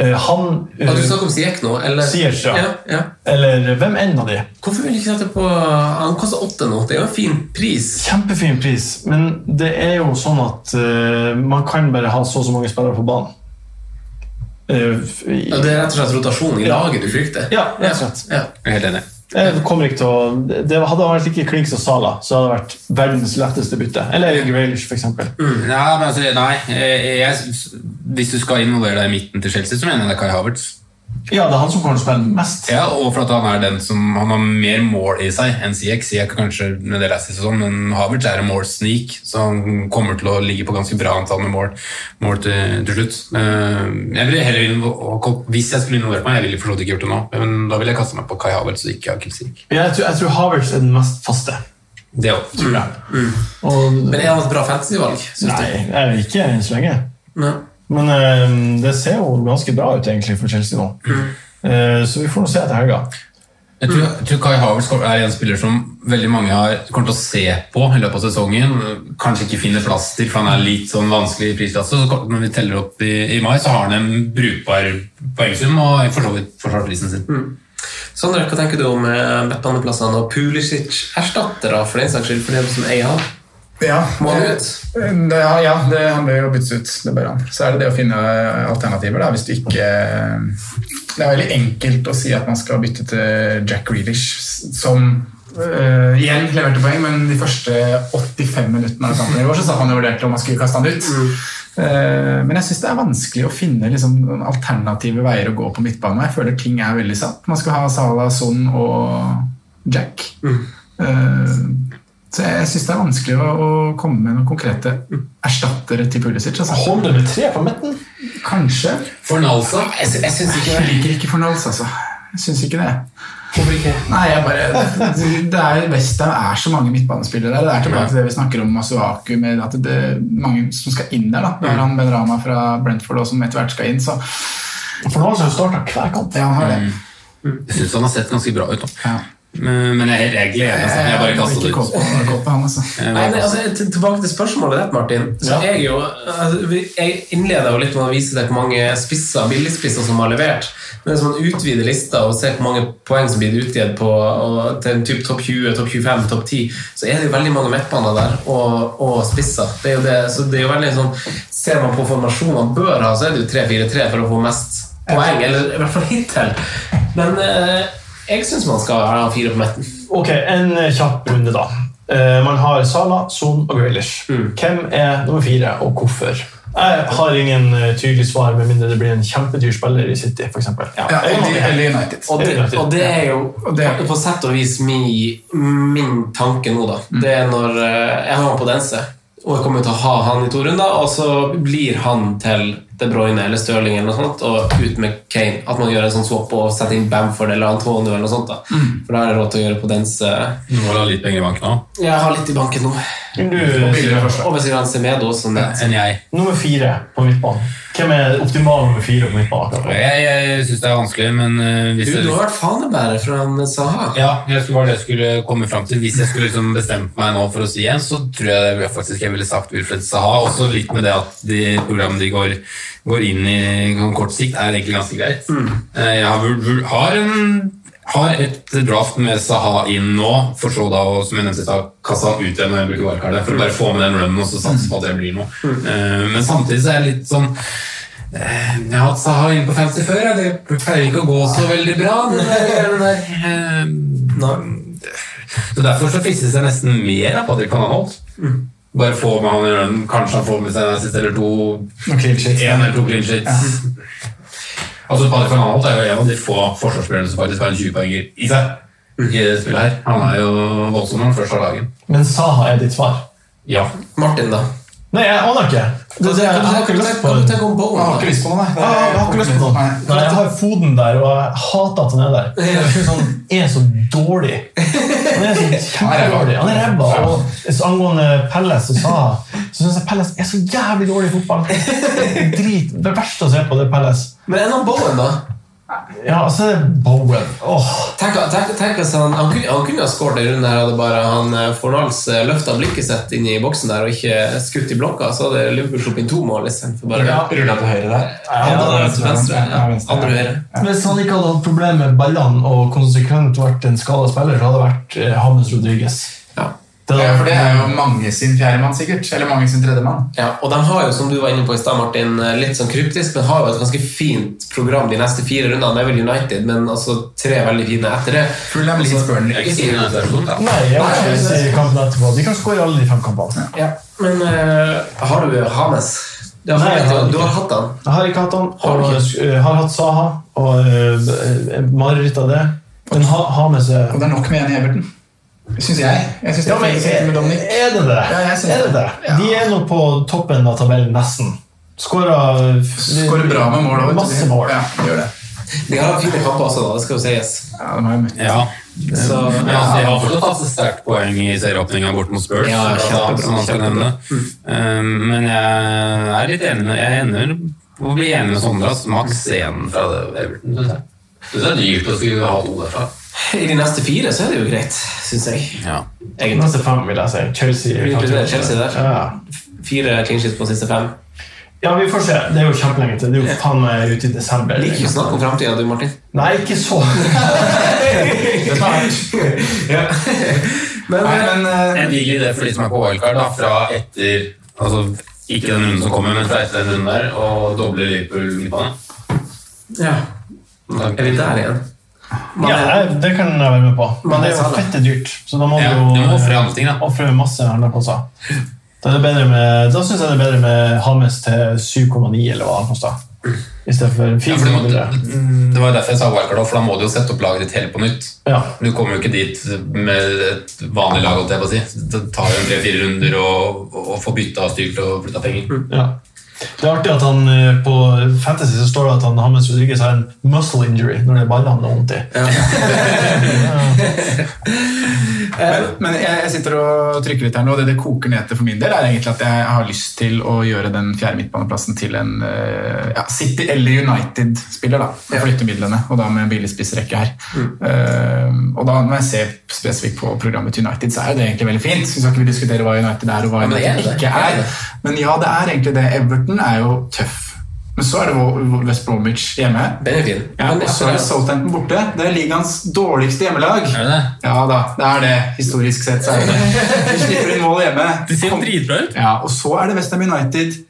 D: eh, han
C: At du snakker om Siek nå? Eller?
D: Ziyech, ja.
C: Ja, ja.
D: Eller hvem enn av de.
C: Hvorfor vil du ikke sette på Han koster åtte nå. Det er jo en fin pris.
D: Kjempefin pris, men det er jo sånn at eh, man kan bare ha så og så mange spillere på banen. Eh,
C: Ja, det er rett og slett rotasjon i laget du frykter.
D: Ja, rett og slett.
G: Jeg er helt enig.
D: Jeg kommer ikke til å Det hadde vært like klink som Sala, så hadde det vært verdens letteste bytte. Eller Erik Grealish, for eksempel.
G: Ja, men altså, nei eh, jeg, Hvis du skal involvere deg i midten til Chelsea, så mener jeg det er Kai Havertz.
D: Ja, det er han som kommer til å spille mest.
G: Ja, og for at han er den som Han har mer mål i seg enn Siek. Siek er kanskje med det leste sesong, men Havertz er en mål sneak, så han kommer til å ligge på ganske bra antall med mål, mål til, til slutt. Eh, Jeg ville heller invo- Hvis jeg skulle involvert meg, jeg ville for så vidt ikke gjort det nå, men da ville jeg kaste meg på Kai Havertz og ikke Akim Siek.
D: Men Jeg tror, jeg tror Havertz er den mest faste.
G: Det også, tror jeg.
D: Men
C: er han et bra fantasyvalg?
D: Nei, jeg er ikke enn så lenge.
C: Nei.
D: Men eh, det ser jo ganske bra ut egentlig for Chelsea nå.
C: Mm.
D: Eh, så vi får nå se etter helga.
G: Jeg tror, jeg tror Kai Havertz kommer- er en spiller som veldig mange har, kommer til å se på i løpet av sesongen. Kanskje ikke finner plass til, for han er litt sånn vanskelig i prisklasse. Så kom- når vi teller opp i, i mai, så har han en brukbar poengsum og for så vidt forsvart prisen sin.
C: Mm. Sondre, hva tenker du om eh, midtbaneplassene og Pulisic-erstattere, for den saks skyld, for dem som eier han?
E: Ja,
C: Må han
E: det- Ja, ja det, han bør jo byttes ut. Det bør han. Så er det det å finne eh, alternativer, da, hvis du ikke eh, Det er veldig enkelt å si at man skal bytte til Jack Grealish, som eh, igjen leverte poeng, men de første 85 minuttene av kampen i går så satt han og vurderte om man skulle kaste han ut.
G: Mm.
E: Eh, men jeg syns det er vanskelig å finne liksom, noen alternative veier å gå på midtbane. Jeg føler ting er veldig satt. Man skal ha Salah, Son og Jack.
G: Mm.
E: Eh, så jeg syns det er vanskelig å, å komme med noen konkrete
G: Mm.
E: erstattere til Pulisic. Altså.
D: Holder med Ah, tre på midten?
E: Kanskje.
G: Fornalsa?
E: Jeg, jeg syns ikke Jeg liker ikke Fornalsa, altså. Jeg syns ikke det.
C: Hvorfor ikke?
E: Nei, jeg bare Det er Westham er så mange midtbanespillere der. Det er tilbake til det vi snakker om Masuaku, med at det er mange som skal inn der. da. Det
C: Mm.
E: er han Ben Rama fra Brentford også, som etter hvert skal inn, så
D: Fornalsa har starta hver kamp.
E: Ja, han har
G: Mm.
E: det.
G: Jeg syns han har sett ganske bra ut. Da. Men men jeg er helt jeg gleder meg. altså. Jeg bare kastet det
E: Eh, ikke
G: ut.
E: kåt på han, kåt på han, altså.
C: Nei, men, altså, til- tilbake til spørsmålet ditt, Martin. Så
E: Ja.
C: jeg, jo, altså, vi- jeg innleda jo litt med å vise deg hvor mange spisser, billigspisser som har levert. Men hvis man utvider lista og ser hvor mange poeng som blir utgitt på, og, til en typ topp 20, topp 25, topp 10, så er det jo veldig mange midtbaner der og, og spisser. Det er jo det, så det er jo veldig sånn, Ser man på formasjonen man bør ha, så er det jo 3-4-3 for å få mest poeng. Eller i hvert fall hittil. Men eh, jeg syns man skal ha fire på midten.
D: Ok, en eh, kjapp runde da. Eh, man har Sala, Son og Grealish. Hvem er nummer fire, og hvorfor? Jeg har ingen eh, tydelig svar, med mindre det blir en kjempedyr spiller i City. For eksempel.
E: Ja, eller- eller United.
C: Og det, og det er jo og det er på sett og vis min, min tanke nå, da.
E: Mm.
C: Det er når eh, jeg har han på Dense, og jeg kommer til å ha han i to runder, og så blir han til De Bruyne eller Stirling eller noe sånt, og ut med Kane. At man gjør en sånn swap og setter inn Bamford eller Antonio eller noe sånt. da
G: Mm.
C: For da har jeg råd til å gjøre på Dense.
G: Du må ha litt penger i banken òg.
C: Jeg har litt i banken nå.
D: Og billigere forslag.
C: Og hvis jeg har en Semedo også nett.
G: Enn jeg.
D: Nummer fire på midtbanen. Hvem er optimal nummer fire på midtbanen?
G: Jeg, jeg syns det er vanskelig, men eh, hvis
D: Du,
G: jeg-
D: du har vært
C: fanebærer fra han Saha.
G: Ja, jeg skulle, var det jeg skulle komme fram til. Hvis jeg skulle liksom bestemt meg nå for å si en, så tror jeg det faktisk jeg ville sagt Wilfred Saha. Også litt med det at de programmene de går, går inn i på kort sikt, er egentlig ganske greit. Eh, Jeg har, vur- vur- har, en, har et draft med Saha inn nå, for så da å, som jeg nevnte, ta kassa ut igjen når jeg bruker varekartet. For å bare få med den runnen og så satse på at det blir noe. Eh, Men samtidig så er jeg litt sånn eh, jeg har hatt Saha inn på 50 før. ja. Det pleier ikke å gå så veldig bra. Den der, den der, eh, så Derfor så fristes jeg nesten mer av Patrick Van Anholt. Bare få med han i runden. Kanskje han får med seg en assist eller to. En eller to clean sheets. Altså Patrick Van Anholt er jo en av de få forsvarsspillerne som faktisk har en 20-poenger i seg. I det spillet her Han er jo voldsom når han først har dagen.
D: Men Saha er ditt svar.
G: Ja.
C: Martin, da?
D: Nei, jeg aner ikke. Det, det, jeg har ikke lyst på den.
E: Jeg har ikke lyst på noe, nei.
D: Ah, jeg har ikke lyst på noe. Nei, jeg har Foden der, og jeg hater at han er sånn- der. Jeg synes han er så dårlig. Han er så kjempedårlig. Han er ræva. Og så angående Pelles og Saha, så syns jeg Pelles er så jævlig dårlig i fotball. Drit. Det verste å se på, det er Pelles.
C: Men enn han Bowen, da?
D: Ja, altså det er Bowen. Åh.
C: Tenk, tenk, tenk hvis han, han, kunne, han kunne ha skåret en runde her hadde bare han eh, Fornals løfta blikket sitt inn i boksen der og ikke skutt i blokka, så hadde Liverpool sluppet inn to mål istedenfor bare
E: Ja. Rulla til høyre der.
C: Ja,
D: Ja,
C: da,
D: det er
C: til venstre. Ja, andre høyre.
D: Hvis han ikke hadde hatt problemer med ballene og konsekvent vært en skada spiller, så hadde det vært eh, James Rodriguez.
E: Ja, for det er jo mange sin fjerdemann, sikkert. Eller mange sin tredjemann.
C: Ja, og de har jo, som du var inne på i stad, Martin, litt sånn kryptisk, men har jo et ganske fint program de neste fire rundene. Det er vel United, men altså tre veldig fine etter det.
E: Fulham, Leeds, Burnley.
C: Jeg er ikke sikker på at det er sånn, da.
D: Nei, jeg
C: Nei,
D: vil
C: det-
D: si kampen etterpå. De kan skåre alle de fem kampene.
C: Ja, men eh, har du Hames? Det har
D: Nei, jeg har
C: du, du har hatt han.
D: Jeg har ikke hatt han.
C: Har du
D: Og, eh, har hatt Saha og eh, eh, mareritt av det. Men ha, ha med seg
E: Og det er nok med en i Everton. Syns jeg. Jeg synes det
D: Ja,
E: er
D: men
E: fint
D: eh,
E: å sitte med Dominic.
D: Er det det?
E: Ja, jeg synes
D: er det, det? De er nå på toppen av tabellen, nesten. Skåra
E: Skårer bra med mål også, vet du.
D: Masse mål.
E: Ja, de gjør det.
C: De har hatt fine kamper også, da. Det skal jo sies.
E: Ja, de har jo møtt
G: Ja.
C: Så,
G: Men altså, de har fortsatt hatt et sterkt poeng i serieåpninga bort mot Spurs.
C: Ja, Mm.
G: blant
C: kjempebra,
G: annet, som man skal nevne. Um, Men jeg er litt enig med Jeg ender på å bli enig med Sondre. ass. Maks én fra det Everton. synes jeg. Synes Det er dyrt å skulle ha to derfra.
C: I de neste fire så er det jo greit, syns jeg.
G: Ja.
C: Egentlig.
D: Neste fem, vil jeg si. Chelsea.
C: Vi inkluderer Chelsea der.
D: Ja.
C: Fire clean sheets på siste fem.
D: ja, vi får se. Det er jo kjempelenge til. Det er jo faen meg ute i desember.
C: Jeg liker ikke å snakke om framtida, du, Martin.
D: Nei, ikke så
C: ja. men,
E: men,
G: En digg idé for de som er på wildcard, da, fra etter Altså ikke den runden som kommer, men fra etter den runden der, og doble Liverpool midtbane.
C: Ja. Er vi der igjen?
D: Ja, jeg- det kan jeg være med på. Men det er jo fette dyrt. Så da må
G: Ja,
D: du
G: du
D: jo
G: må offre andre ting, da.
D: offre masse andre plasser. Da, er det bedre med- da syns jeg det er bedre med Hames til 7,9 eller hva han kosta. I stedet for
G: Ja, for
D: 4
G: du må, det var jo derfor jeg sa wildcard, for da må du jo sette opp laget ditt helt på nytt.
D: Ja.
G: Du kommer jo ikke dit med et vanlig lag, holdt jeg på å si. Det tar jo tre-fire runder og, og få bytta og styrt og flytta penger.
D: Ja. Det er artig at han eh, på Fantasy så står det at han Hames Rodriguez har en muscle injury når det er ballene han har vondt i.
E: Men, men jeg, jeg sitter og trykker litt her nå. og Det det koker ned til for min del, er egentlig at jeg har lyst til å gjøre den fjerde midtbaneplassen til en eh, ja, City eller United-spiller. da, og Flytte midlene, og da med en billigspissrekke her.
C: Mm.
E: Eh, og da når jeg ser spesifikt på programmet til United, så er jo det egentlig veldig fint. Vi skal ikke vi diskutere hva United er og hva
C: Ja, men det er
E: United
C: det.
E: ikke
C: Det er
E: er.
C: det.
E: Men ja, det er egentlig det. Everton er jo tøff. Men så er det Wo- West Bromwich hjemme.
C: Den er fin.
E: Ja, og så er det Southampton borte. Det er ligaens dårligste hjemmelag.
G: Er det det?
E: Ja da, det er det. Historisk sett så er det det. De slipper inn mål hjemme.
G: De ser jo dritbra ut.
E: Ja, Og så er det Westham United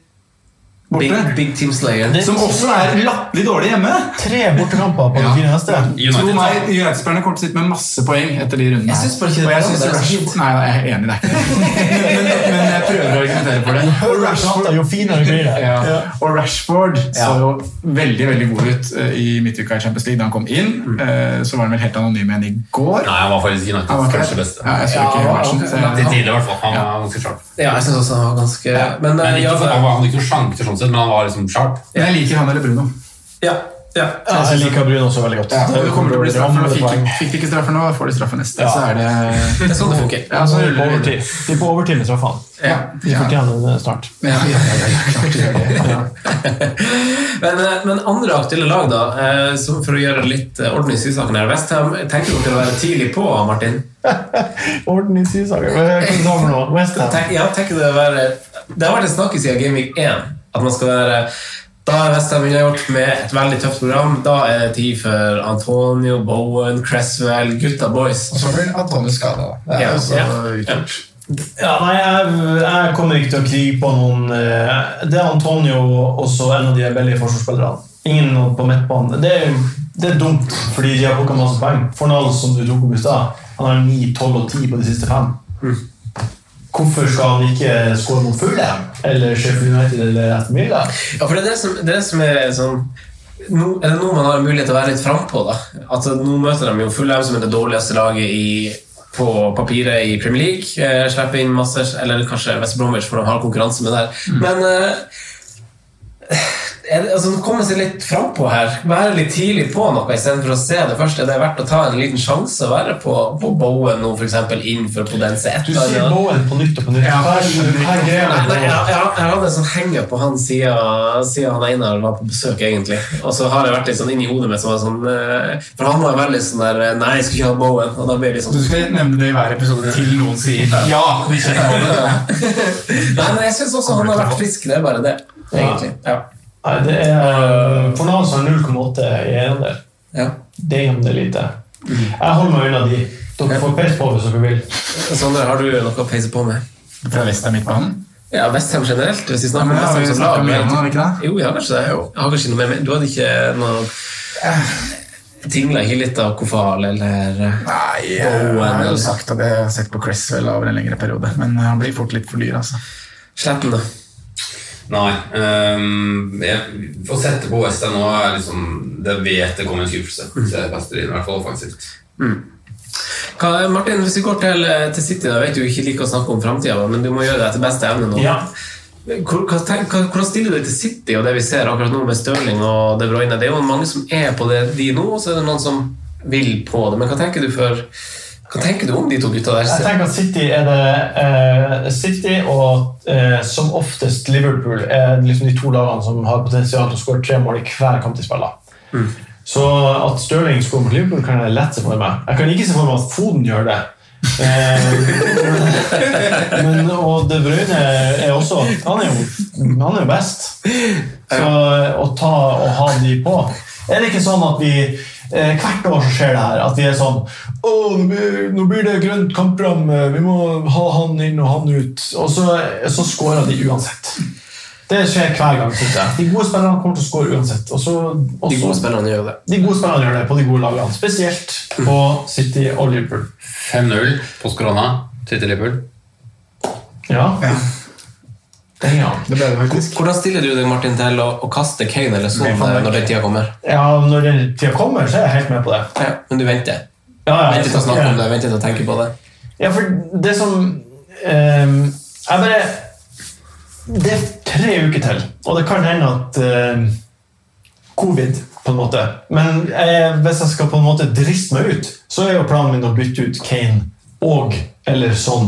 C: Big,
E: borte,
C: big Team Slayer.
E: som også er latterlig dårlig hjemme.
D: Tre bortekamper på de fire neste.
E: Tro meg, United-spillerne kommer til å sitte med masse poeng etter de rundene.
C: Jeg synes bare ikke det
E: Og
C: er
E: jeg
C: bra,
E: synes
C: det er så
E: Rashford- Nei, jeg er enig, det er ikke det. Men, men, men jeg prøver å argumentere for det.
D: høyere prater, jo finere blir det.
E: Ja. Og Rashford så
D: Ja.
E: jo veldig veldig god ut eh, i midtuka i Champions League da han kom inn. Eh, Så var han vel helt anonym igjen i går.
G: Nei, han var faktisk Uniteds
E: Han var ikke
G: kanskje
E: det?
G: beste.
E: Ja, jeg så ikke hele matchen. så jeg-
G: Til tidligere, i hvert fall. Han var ganske sharp.
C: Ja, jeg synes også han var ganske Men,
G: Men,
C: eh,
G: ikke,
C: ja,
G: for han var- han hadde ikke noen sjanser, sånn sett, men han var liksom sharp.
E: Jeg liker han eller Bruno.
C: Ja, ja.
D: Ja, jeg liker Bruno også veldig godt.
E: Ja, og det kommer til å bli straff. nå.
D: Ramler
E: Fikk,
D: poeng.
E: fikk de ikke straffer nå, får de straffer neste.
D: Ja.
E: Så er det
D: Det er sånn det funker.
E: Ja, så ruller
D: på
E: det videre.
D: overtid. De er på overtid med straffene.
E: Ja.
D: De fortjener det snart.
C: Ja, ja, ja, ja, klart det gjør det. men, eh, men andre aktuelle lag, da, eh, som for å gjøre litt eh, orden i sysaken her Westham tenker dere å være tidlig på, Martin?
D: Orden i sysaker. Hva er det du har for noe? West Ham.
C: Tenk, ja, tenker det, å være, det har vært en snakk i siden Game Week 1 at man skal være da er Westham unnagjort med et veldig tøft program. Da er det tid for Antonio, Bowen, Cresswell, gutta boys. Og så blir Antonio skada.
E: Det er
C: Ja,
E: jo så
C: ja, ja.
D: Ja, nei, jeg, jeg kommer ikke til å krige på noen eh, Det er Antonio og så en av de billige forsvarsspillerne. Ingen nå på midtbanen. Det, er- det er dumt, fordi de har plukka masse poeng. Fornal, som du tok opp i stad, han har 9, 12 og 10 på de siste fem. Hvorfor skal han ikke skåre mot Fulham eller Sheffield United eller Aston Villa?
C: Ja, for det er det som, det er det som er sånn nå, Er det nå man har mulighet til å være litt frampå, da? At nå møter de jo Fulham, som er det dårligste laget i, på papiret i Premier League. Eh, slipper inn masse Eller kanskje West Bromwich, for de har konkurranse med der. Men eh, er det, altså, komme seg litt frampå her. Være litt tidlig på noe istedenfor å se det først. Er det verdt å ta en liten sjanse å være på, på Bowen nå, f.eks., innenfor Podense?
D: Du sier Bowen på nytt og på nytt. Hva er hva er greia
C: Nei,
D: med
C: nei,
D: Bowen?
C: jeg, jeg, jeg hadde en sånn henger på han siden, siden han Einar var på besøk, egentlig. Og så har jeg vært litt sånn inni hodet mitt som var sånn eh, For han var veldig sånn der eh, Nei, jeg skulle ikke ha Bowen. Og da ble jeg litt sånn
E: Du skal nevne det i hver episode til noen sier ja. vi kjenner på det.
C: Nei, men jeg syns også han har vært frisk. Det er bare det, egentlig. Ja.
D: Nei, det er eh, Fornal som har 0,8 i eierandel.
C: Ja.
D: Det er om det er lite. Jeg holder meg unna de. Dere får pels på hvis dere vil.
C: Sondre, har du noe å peise på med?
E: Fra Vestheim midtbanen?
C: Ja, Westham generelt. Hvis vi snakker
E: Ja,
C: om
E: men det har
C: Westham
E: vi
C: som
E: snakket
C: lag.
E: om
C: men-
E: igjen, har vi ikke
C: Jo, jeg har kanskje det. Jeg har kanskje noe mer Du hadde ikke noe Tingla ikke litt av Kofal eller
E: Nei, jeg
C: Bowen?
E: har jo
C: eller-
E: sagt at jeg har sett på Cresswell over en lengre periode, men han blir fort litt for dyr, altså.
C: Sletten, da.
G: Nei. ehm, jeg, å sette på West Ham nå er liksom Det vet det kommer en skuffelse. Så jeg kaster det inn, i hvert fall offensivt.
C: Hva, Martin, hvis vi går til, eh, til City, da vet du ikke liker å snakke om framtida, men du må gjøre det etter beste evne nå.
D: Ja.
C: Hvor- hva tenk- hva- Hvordan stiller du deg til City og det vi ser akkurat nå med Stirling og De Bruyne? Det er jo mange som er på det de nå, og så er det noen som vil på det. Men hva tenker du, for, hva tenker du om de to gutta der?
D: Jeg tenker at City er det eh, City og eh, som oftest Liverpool er liksom de to lagene som har potensial til å skåre tre mål i hver kamp de spiller. Så at Stirling skårer mot Liverpool, kan jeg lett se for meg. Jeg kan ikke se for meg at Foden gjør det. Eh, men, og De Bruyne er også Han er jo, han er jo best. Så å ta og ha de på Er det ikke sånn at vi eh, hvert år så skjer det her at vi er sånn Å, nå blir, nå blir det grønt kampprogram, eh, vi må ha han inn og han ut. Og så, så scorer de uansett. Det skjer hver gang. synes jeg. De gode spillerne kommer til å score uansett. Og så, og
C: De
D: så-
C: gode spillerne gjør det.
D: de gode spillerne gjør det på de gode lagene, spesielt på City og Liverpool.
G: 5-0 på Skorona til Liverpool.
D: Ja.
C: Hvordan stiller du deg, Martin, til å, å kaste Kane eller Son når den tida kommer?
D: ja, når den tida kommer, så er jeg helt med på det.
C: Ja, men du venter?
D: Ja,
C: venter til å snakke om det, venter til å tenke på det?
D: Ja, for det som ehm, Jeg bare Det er tre uker til, og det kan hende at ehm, Covid, på en måte. Men jeg, hvis jeg skal på en måte driste meg ut, så er jo planen min å bytte ut Kane og eller sånn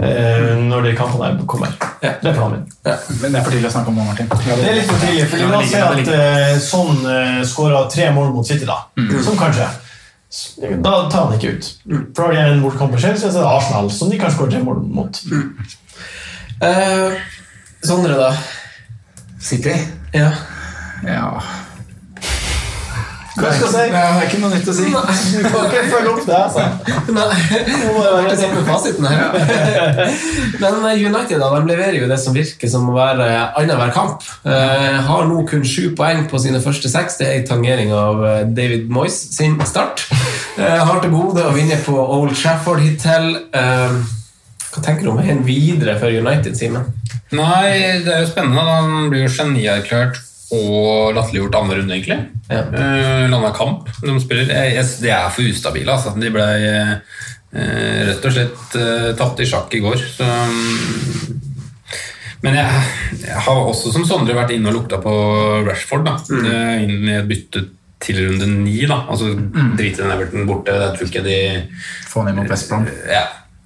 D: eh, når de kampene her kommer. Det er planen min.
E: Men det er for tidlig å snakke om nå, Martin.
D: Det er litt for tidlig, for la oss si at eh, sånn eh, skåra tre mål mot City, da.
E: Mm.
D: Som kanskje. S- Da tar han ikke ut. For da har de en bortkamp på Chelsea, så er det Arsenal, som de kan skåre tre mål mot.
C: Eh, Sondre, da?
E: City?
C: Ja.
E: Ja
D: Hva skal jeg si?
E: Nei, jeg har ikke noe nytt å si.
D: Du kan ikke følge opp det, altså.
C: Nei, det samme fasiten her. Men eh, United da, de leverer jo det som virker som å være eh, annenhver kamp. Eh, har nå kun sju poeng på sine første seks. Det er en tangering av eh, David Moyes sin start. Eh, har til gode å vinne på Old Trafford hittil. Eh, hva tenker du om veien videre for United, Simen?
G: Nei, det er jo spennende. da. Han blir jo genierklært og latterliggjort andre runde, egentlig. Ja. Landa kamp de spiller. Jeg, jeg, de er for ustabile, altså. De ble eh, eh, rett og slett uh, tapte i sjakk i går. Så, mm, men jeg, jeg har også, som Sondre, vært inne og lukta på Rashford. da. Eh, Inn i et bytte til runde ni. da. Altså drite den Everton borte. Jeg tror ikke de
E: Få ned mot West Brom.
G: ja.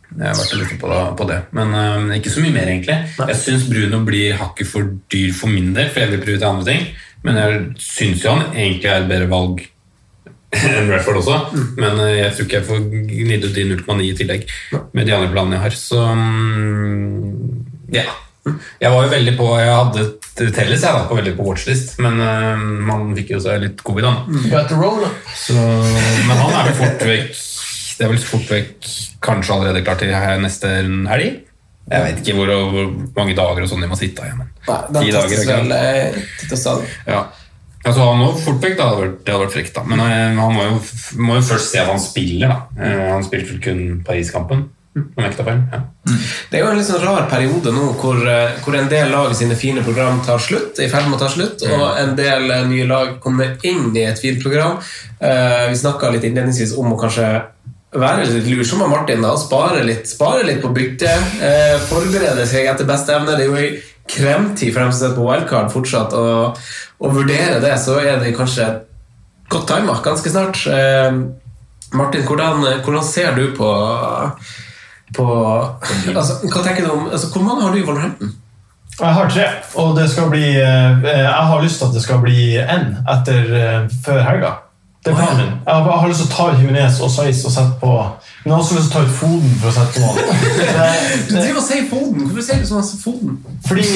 G: Jeg har vært og lurt på, på det, men øhm, ikke så mye mer, egentlig. Jeg syns Bruno blir hakket for dyr for min del, for jeg vil prioritere andre ting. Men jeg syns jo han egentlig er et bedre valg enn Rashford også. Men øh, jeg tror ikke jeg får gnidd ut de 0,9 i tillegg med de andre planene jeg har. Så mm, ja. Jeg var jo veldig på Jeg hadde Telles jeg var på veldig på watchlist, men øh, man fikk jo seg litt covid, da.
I: But roll up.
G: Så, men han er vel fort vekk Det er vel fort vekk kanskje allerede klar til her neste helg. Jeg vet ikke hvor, hvor mange dager og sånn de må sitte igjen. men
I: Nei,
G: Ti
I: den
G: dager,
I: testes
G: ikke sant?
I: vel eh, titt og stadig.
G: Ja. Altså, han var fort vekk, da. Det hadde vært- det hadde vært frekt. da. Men eh, han må jo, må jo først se at han spiller. da. Eh, Han spilte vel kun Paris-kampen. om jeg ikke tar feil. Ja.
C: Det er jo en litt sånn rar periode nå hvor, eh, hvor en del lag sine fine program tar slutt, er i ferd med å ta slutt, og en del eh, nye lag kommer inn i et fint program. Eh, Vi snakka litt innledningsvis om å kanskje være litt lur, som av Martin, da, og spare litt, spare litt på bytte. eh, Forberede seg etter beste evne. Det er jo i kremtid for dem som sitter på wildcard fortsatt, og, og vurdere det, så er det kanskje godt timet ganske snart. Eh, Martin, hvordan, hvordan ser du på på, altså, hva tenker du om, altså, Hvor mange har du i Wolverhampton?
D: Jeg har tre, og det skal bli eh, Jeg har lyst til at det skal bli én etter eh, før helga. Det er planen min. Jeg har, jeg har lyst til å ta ut Jimenez og Saiz og sette på Men jeg har også lyst til å ta ut Foden for å sette på han.
C: Du driver og sier Foden! Hvorfor sier du sånn altså, Foden?
D: Fordi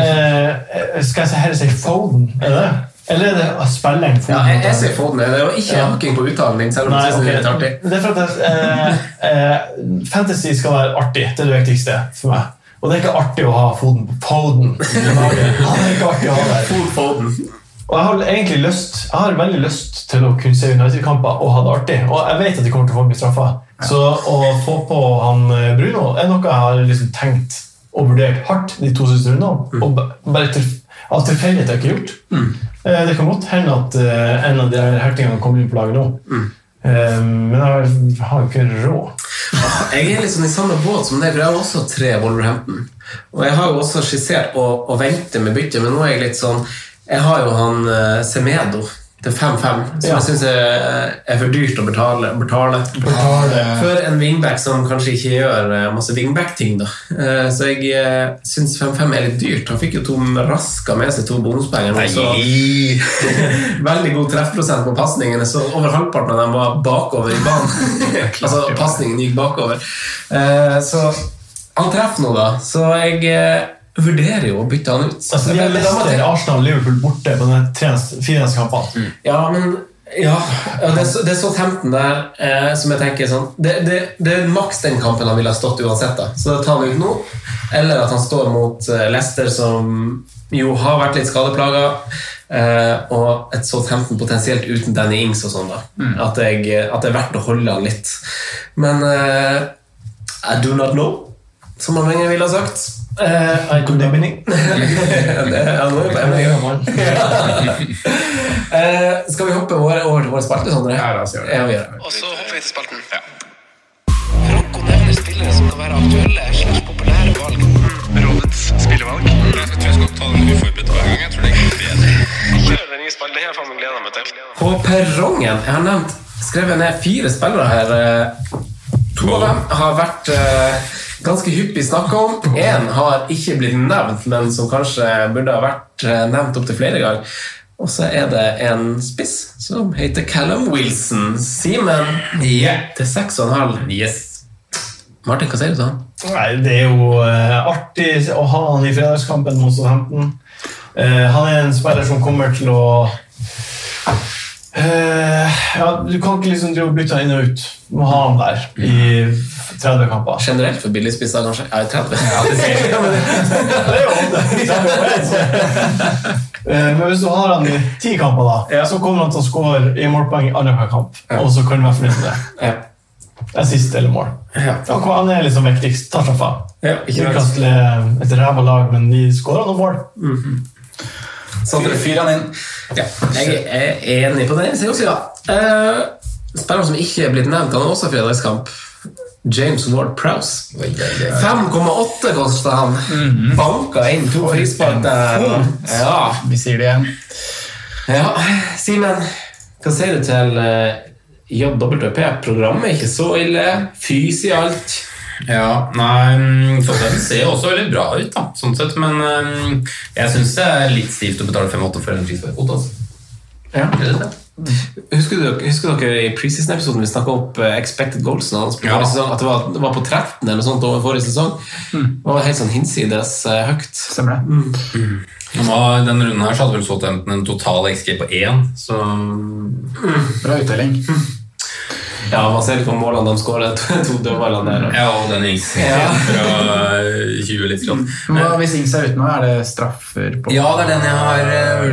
D: eh, Skal jeg si heller si Foden? Er det? det? Eller er det spilleren Foden?
C: Ja, jeg, jeg sier Foden. Det var ikke
D: Ja.
C: hakking på uttalen din. Selv om
D: Nei,
C: jeg synes det er litt
D: ok.
C: artig
D: Det er for at eh, eh, fantasy skal være artig. Det er det viktigste for meg. Og det er ikke artig å ha Foden på Foden. i laget. Ja, det er ikke artig å ha der. Og jeg har egentlig lyst Jeg har veldig lyst til å kunne se United-kamper og ha det artig. Og jeg vet at de kommer til å få mye straffer. Så å få på han eh, Bruno er noe jeg har liksom tenkt og vurdert hardt de to siste rundene.
C: Mm.
D: Og ba- bare til, av tilfeldighet har jeg ikke gjort. Eh, Det kan godt hende at eh, en av de her hertingene kommer inn på laget nå.
C: Mm.
D: Eh, Men jeg har jo ikke råd.
C: Jeg er litt sånn i samme båt som deg, for jeg har også tre Wolverhampton. Og jeg har jo også skissert å, å vente med byttet, men nå er jeg litt sånn Jeg har jo han eh, Semedo til 5-5, som
I: Ja.
C: jeg syns er, er for dyrt å betale. betale.
I: Betale.
C: For en wingback som kanskje ikke gjør eh, masse wingback-ting, da. Eh, Så jeg syns 5-5 er litt dyrt. Han fikk jo to raska med seg to bonuspenger. nå, så- Veldig god treffprosent på pasningene, så over halvparten av dem var bakover i banen. altså pasningen gikk bakover. Eh, Så han treffer nå, da. Så jeg eh, vurderer jo å bytte han ut.
D: Altså, de har
C: Men da må jeg-
D: Leicester, Arsenal og Liverpool borte på de tre- fire neste kampene.
C: ja, men ja, ja, det, er så- det er Southampton der eh, som jeg tenker sånn det, det, det er maks den kampen han ville ha stått uansett. da Så da tar han ut nå. Eller at han står mot eh, Leicester, som jo har vært litt skadeplaga. Eh, og et Southampton potensielt uten Danny Ings og sånn. da at, jeg, at det er verdt å holde han litt. Men eh, I do not know, som han lenger ville ha sagt. Eh,
D: I could have been in.
C: det er han også, men jeg- Eh, skal vi hoppe over, over til vår spalte, Sondre? Ja, la oss gjøre det.
K: Og så hopper vi til spalten. Ja. Franco nevner spillere som kan være aktuelle slags populære valg. Mm. Rådets spillevalg. Jeg tror jeg skal ta den uforberedt hver gang. Jeg tror det er bedre. Kjør den nye spalten. Det har jeg faen meg gleda meg til.
C: På perrongen. Jeg har nevnt, skrevet ned fire spillere her. eh, To av dem har vært eh, ganske hyppig snakka om. Én har ikke blitt nevnt, men som kanskje burde ha vært eh, nevnt opptil flere ganger. Og så er det en spiss som heter Callum Wilson. Simen til seks og en halv. Martin, hva sier du til han?
D: Nei, det er jo eh, artig å ha han i fredagskampen mot Southampton. Eh, han er en spiller som kommer til å eh, ja, Du kan ikke liksom drive og bytte han inn og ut. Du må ha han der i 30 kamper.
C: Generelt for billigspisser, kanskje? Ja, i 30.
D: Ja, men det- det er jo det. Det er jo det. Eh, Men hvis du har han i ti kamper, da, så kommer han til å score i målpoeng i annenhver kamp. Og så kan du være fornøyd med det. assist eller mål. Og han er liksom viktigst. Tar seg faen.
C: Ja, ikke sant.
D: Newcastle er eh, et ræva lag, men de skårer noen mål.
C: Så dere fyrer han inn. Ja, jeg er enig på det. Så jeg også, ja. Eh, Spilleren som ikke er blitt nevnt, han er også fredagskamp. James Ward Prowse. 5,8 kosta han. Mhm. Banka inn to frispark der. Ja,
E: vi sier det igjen.
C: Ja, Simen, hva sier du til eh, JWP? Programmet er ikke så ille. Fys i alt.
G: Ja, nei mm, sånn sett, Det ser jo også veldig bra ut, da, sånn sett, men mm, jeg syns det er litt stivt å betale 5,8 for en frisparkkvote. Altså.
C: Ja.
G: Det er det.
C: Husker dere, husker dere i preseason-episoden vi snakka opp eh, expected goals? Når han spilte
G: Ja.
C: forrige sesong, at det var, det var på 13 eller noe sånt over forrige sesong? Det var helt sånn hinsides eh, høyt.
E: Stemmer det.
G: Nå, denne runden her så hadde vel Southampton en total XG på én, så
E: Bra uttelling.
C: Ja, man ser litt på målene de skårer. To, to dødballene der.
G: Ja, og den gikk
C: Ja.
G: fra 20 litt. Sånn.
E: Hva hvis Ings er ute nå? Er det straffer på
G: Ja, det er den jeg har eh,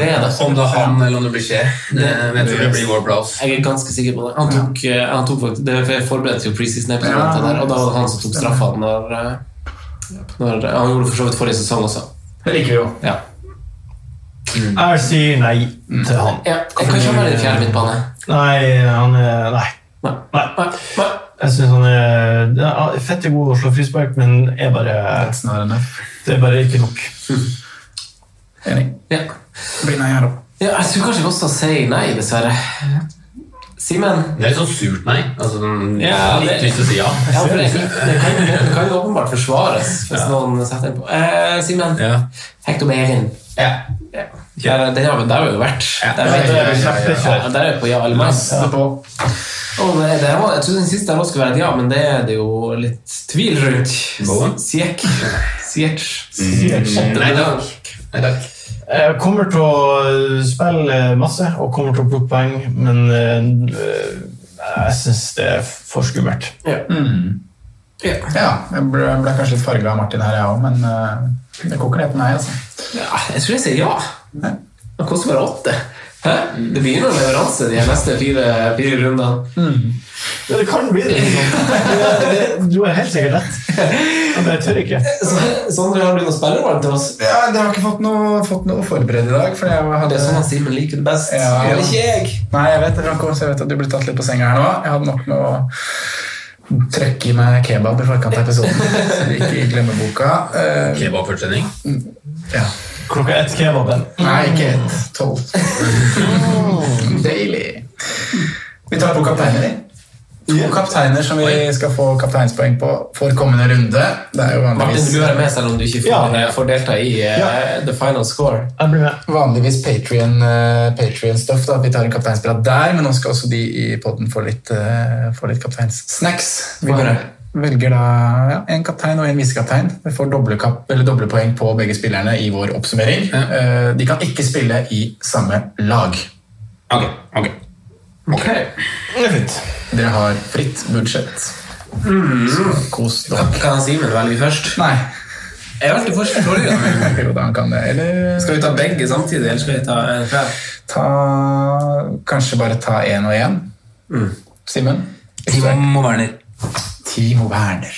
C: Det er det.
G: Om det er han eller om det blir Skje. Det, men jeg tror det blir vår plass.
C: Jeg er ganske sikker på det. Han tok, eh, han tok faktisk, det for jeg forberedte jo preseason-episoden,
G: Ja.
C: til det der, og da var det han som tok straffa når, eh, når eh, Han gjorde det for så vidt forrige sesong også.
E: Det liker vi jo.
C: Ja.
D: Mm. Jeg sier nei
E: Mm.
D: til han.
C: Ja, Kanskje han er i fjerde midtbane.
D: Nei, han er Nei. Nei. Jeg syns han er ja, fett god å slå frispark, men er bare Det er bare ikke nok.
C: Ja.
E: Blir nei her òg.
C: Ja, jeg tror kanskje vi også sier nei, dessverre. Simen?
G: Det er litt sånn surt nei. Altså, sånn, jeg
C: Ja,
G: har litt
C: det-
G: lyst til å si ja.
C: Ja, for det, det, kan, det kan jo åpenbart forsvares hvis noen setter den på. Eh, Simen. Hektomerin.
G: Ja.
C: Der, der, har vi- der har vi jo vært. Der,
E: Ja,
C: vet
E: det er
C: vi-
E: vi kjempekjør.
C: Ja, der er vi på ja eller nei.
E: Lasse
C: Ja.
E: på.
C: Og det, det var, jeg trodde den siste her også skulle være et ja, men det er det jo litt tvil rundt.
G: Bowen?
C: Siek. Siek.
D: Mm, nei takk. Jeg kommer til å spille masse og kommer til å plukke poeng, men eh, jeg syns det er for skummelt.
E: Mm.
C: Ja.
E: jeg ble, jeg ble kanskje litt farga av Martin her, jeg òg, men eh, det koker ned på nei. altså.
C: Ja, jeg tror jeg sier ja. Det koster bare åtte. Hæ? Det begynner med leveranse de neste fire, fire rundene.
D: Ja, det kan bli det. Det- Du har helt sikkert rett. Men jeg tør ikke.
C: Så- Sondre, har du noen spillervalg til oss?
E: Ja, Dere har ikke fått noe, fått noe forberedt i dag? For jeg hadde...
C: Det er sånn han Simen liker det best.
E: Ja.
C: Gjør det ikke jeg?
E: Nei, jeg vet det, Franco, så jeg vet at du ble tatt litt på senga her nå. Jeg hadde nok med å trøkke i meg kebab i forkant av episoden. Så vi ikke glemmer boka. Eh,
G: Kebabfortsending.
D: Klokka ett kebaben.
E: nei, ikke ett. Tolv. Deilig. Vi tar to kapteiner. i. To kapteiner som vi skal få kapteinspoeng på for kommende runde. Det er jo
C: Martin, du
E: vanligvis
C: er med selv om du ikke får,
E: Ja.
C: får delta i eh, the final score.
D: Jeg blir med.
E: Vanligvis Patrion, stuff da, at vi tar en kapteinsprat der, men nå skal også de i podden få litt, eh, få litt kapteinssnacks. Vi
C: Få høre.
E: velger da ja, en kaptein og en visekaptein. Vi får doble, kap, eller doble poeng på begge spillerne i vår oppsummering. Eh, De kan ikke spille i samme lag.
G: Ok, ok.
C: Ok.
D: Det er fint.
E: Dere har fritt budsjett.
C: Mm.
E: Så Kos dere.
C: Kan Simen velge først?
E: Nei.
C: Jeg valgte først forrige gang.
E: Jo da, han kan det. Eller
C: Skal vi ta begge samtidig, eller skal vi ta en hver?
E: ta, kanskje bare ta én og én. Simen?
G: Timo Werner.
E: Timo Werner.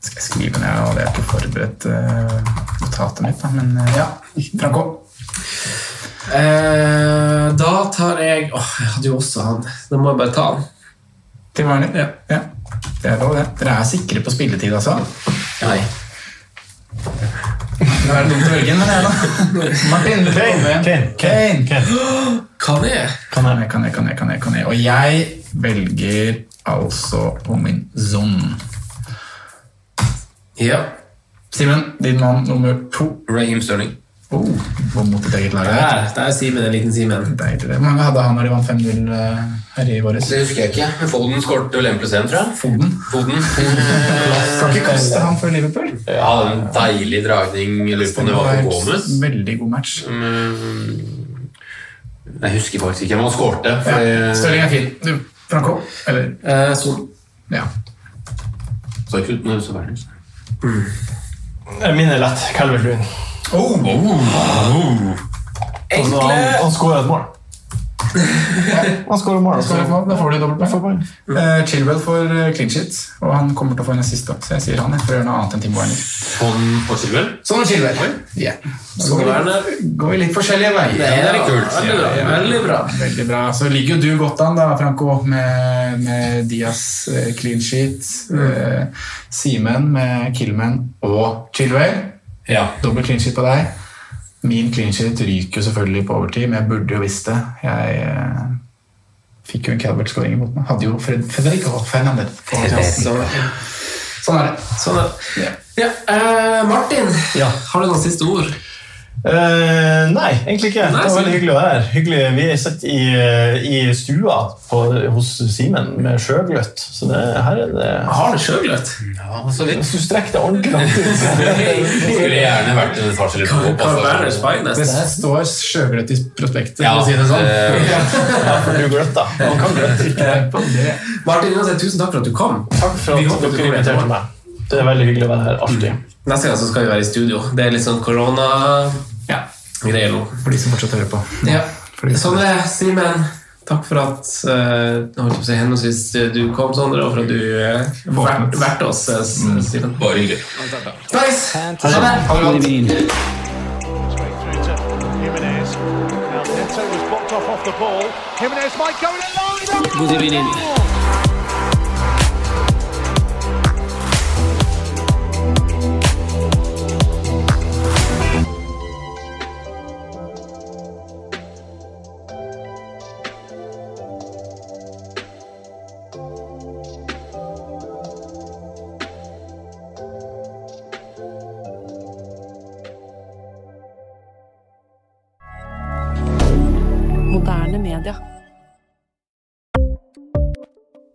E: Skal jeg skrive ned? Jeg hadde ikke forberedt eh, notatet mitt, da, men eh, ja. Franco.
C: Eh, da tar jeg Åh, jeg hadde jo også han. Da må jeg bare ta han.
E: Timo Werner. Ja. Det er lov, det. Dere er sikre på spilletid, altså?
C: Nei.
E: Det er dumt å velge en, men det er da. Martin, du får komme igjen.
D: Kane,
E: Kane.
C: Kan jeg?
E: Kan jeg, kan jeg, kan jeg, kan jeg, kan jeg. Og jeg velger altså på min zone.
C: Ja.
E: Simen, din mann nummer to.
G: Raheem Sterling.
E: Oh, bom mot ditt eget lag. her.
C: Der, der er Simen en liten Simen.
E: Deilig. Hvor mange hadde han når de vant 5-0 eh, her i våres?
G: Det husker jeg ikke. men Foden skåret vel 1 pluss 1, tror jeg.
E: Foden.
G: Foden.
E: Skal ikke kaste han for Liverpool.
G: Ja, det er en deilig dragning. Jeg lurer på om det var på Gomez.
E: veldig god match.
G: Mm, Jeg husker faktisk ikke hvem han skårte.
E: Ja,
G: for jeg-
E: Stirling er fin. Du, Franco? Eller?
C: Eh, Son.
E: Ja.
G: Så ikke ut når det så verden.
D: Eh, Min er lett. Calvert Lewin.
E: Oh,
D: Han, han skårer et mål. Han skårer mål.
L: Skårer mål, Da får du dobbeltpoeng.
G: Mm.
L: Uh, Chilwell får eh, clean sheet, og han kommer til å få en assist opp, så jeg sier han. Jeg får gjøre noe annet enn Tim Warner.
C: Sånn på Silvel?
L: Sånn og Chilwell. Yeah. Så går vi, går vi litt forskjellige veier.
C: Det er
L: da.
C: kult.
L: Veldig bra. Veldig bra. Veldig bra. Så ligger jo du godt an, da, Franco, med, med Diaz eh, clean sheet,
G: Mm.
L: eh, Simen med Killman og Chilwell.
C: Ja.
L: Dobbel clean sheet på deg. Min clean sheet ryker jo selvfølgelig på overtid, men jeg burde jo visst det. Jeg eh, fikk jo en Calvert-skåring imot meg. Hadde jo Fred Federico Fernandez på
G: Federico.
L: Sånn er det.
G: Sånn er det. Ja, eh, Martin, har du noen siste ord?
D: Eh, nei, egentlig ikke.
G: Nei,
D: det var
G: så-
D: veldig hyggelig å være her. Hyggelig. Vi sitter i, eh, i stua på, hos Simen med sjøgløtt. Så det, her er det
G: Har du sjøgløtt?
D: Ja, så vidt. Hvis du strekker deg ordentlig langt ut. så-
C: Skulle gjerne vært en etasje eller to opp. altså.
L: Det står sjøgrøt i prospektet,
C: Ja, Eh.
L: for å si det
C: det-
L: sånn.
D: Ja, for du gløtta. Man kan gløtte ikke på det.
G: Martin, uansett, tusen takk for at du kom.
D: Takk for
G: Vi
D: at
G: håper du
D: dere
G: kommer
D: inviterte
G: etterpå.
D: meg. Det er veldig hyggelig å være her. Alltid.
G: Neste gang så skal vi være i studio. Det er litt sånn korona-greier nå.
L: For de som fortsatt hører på.
G: Ja. Sånn er det, Simen. Takk for at eh, jeg holdt på å si henholdsvis eh, du kom, Sondre, og for at du eh, vert- verte oss, eh, S- Simen.
C: Mm. Bare hyggelig.
G: Nice!
M: And
G: Ha det!
M: through to Jimenez. Now Neto was blocked off off the ball. Jimenez might go in line.
N: Good evening.
A: Moderne media.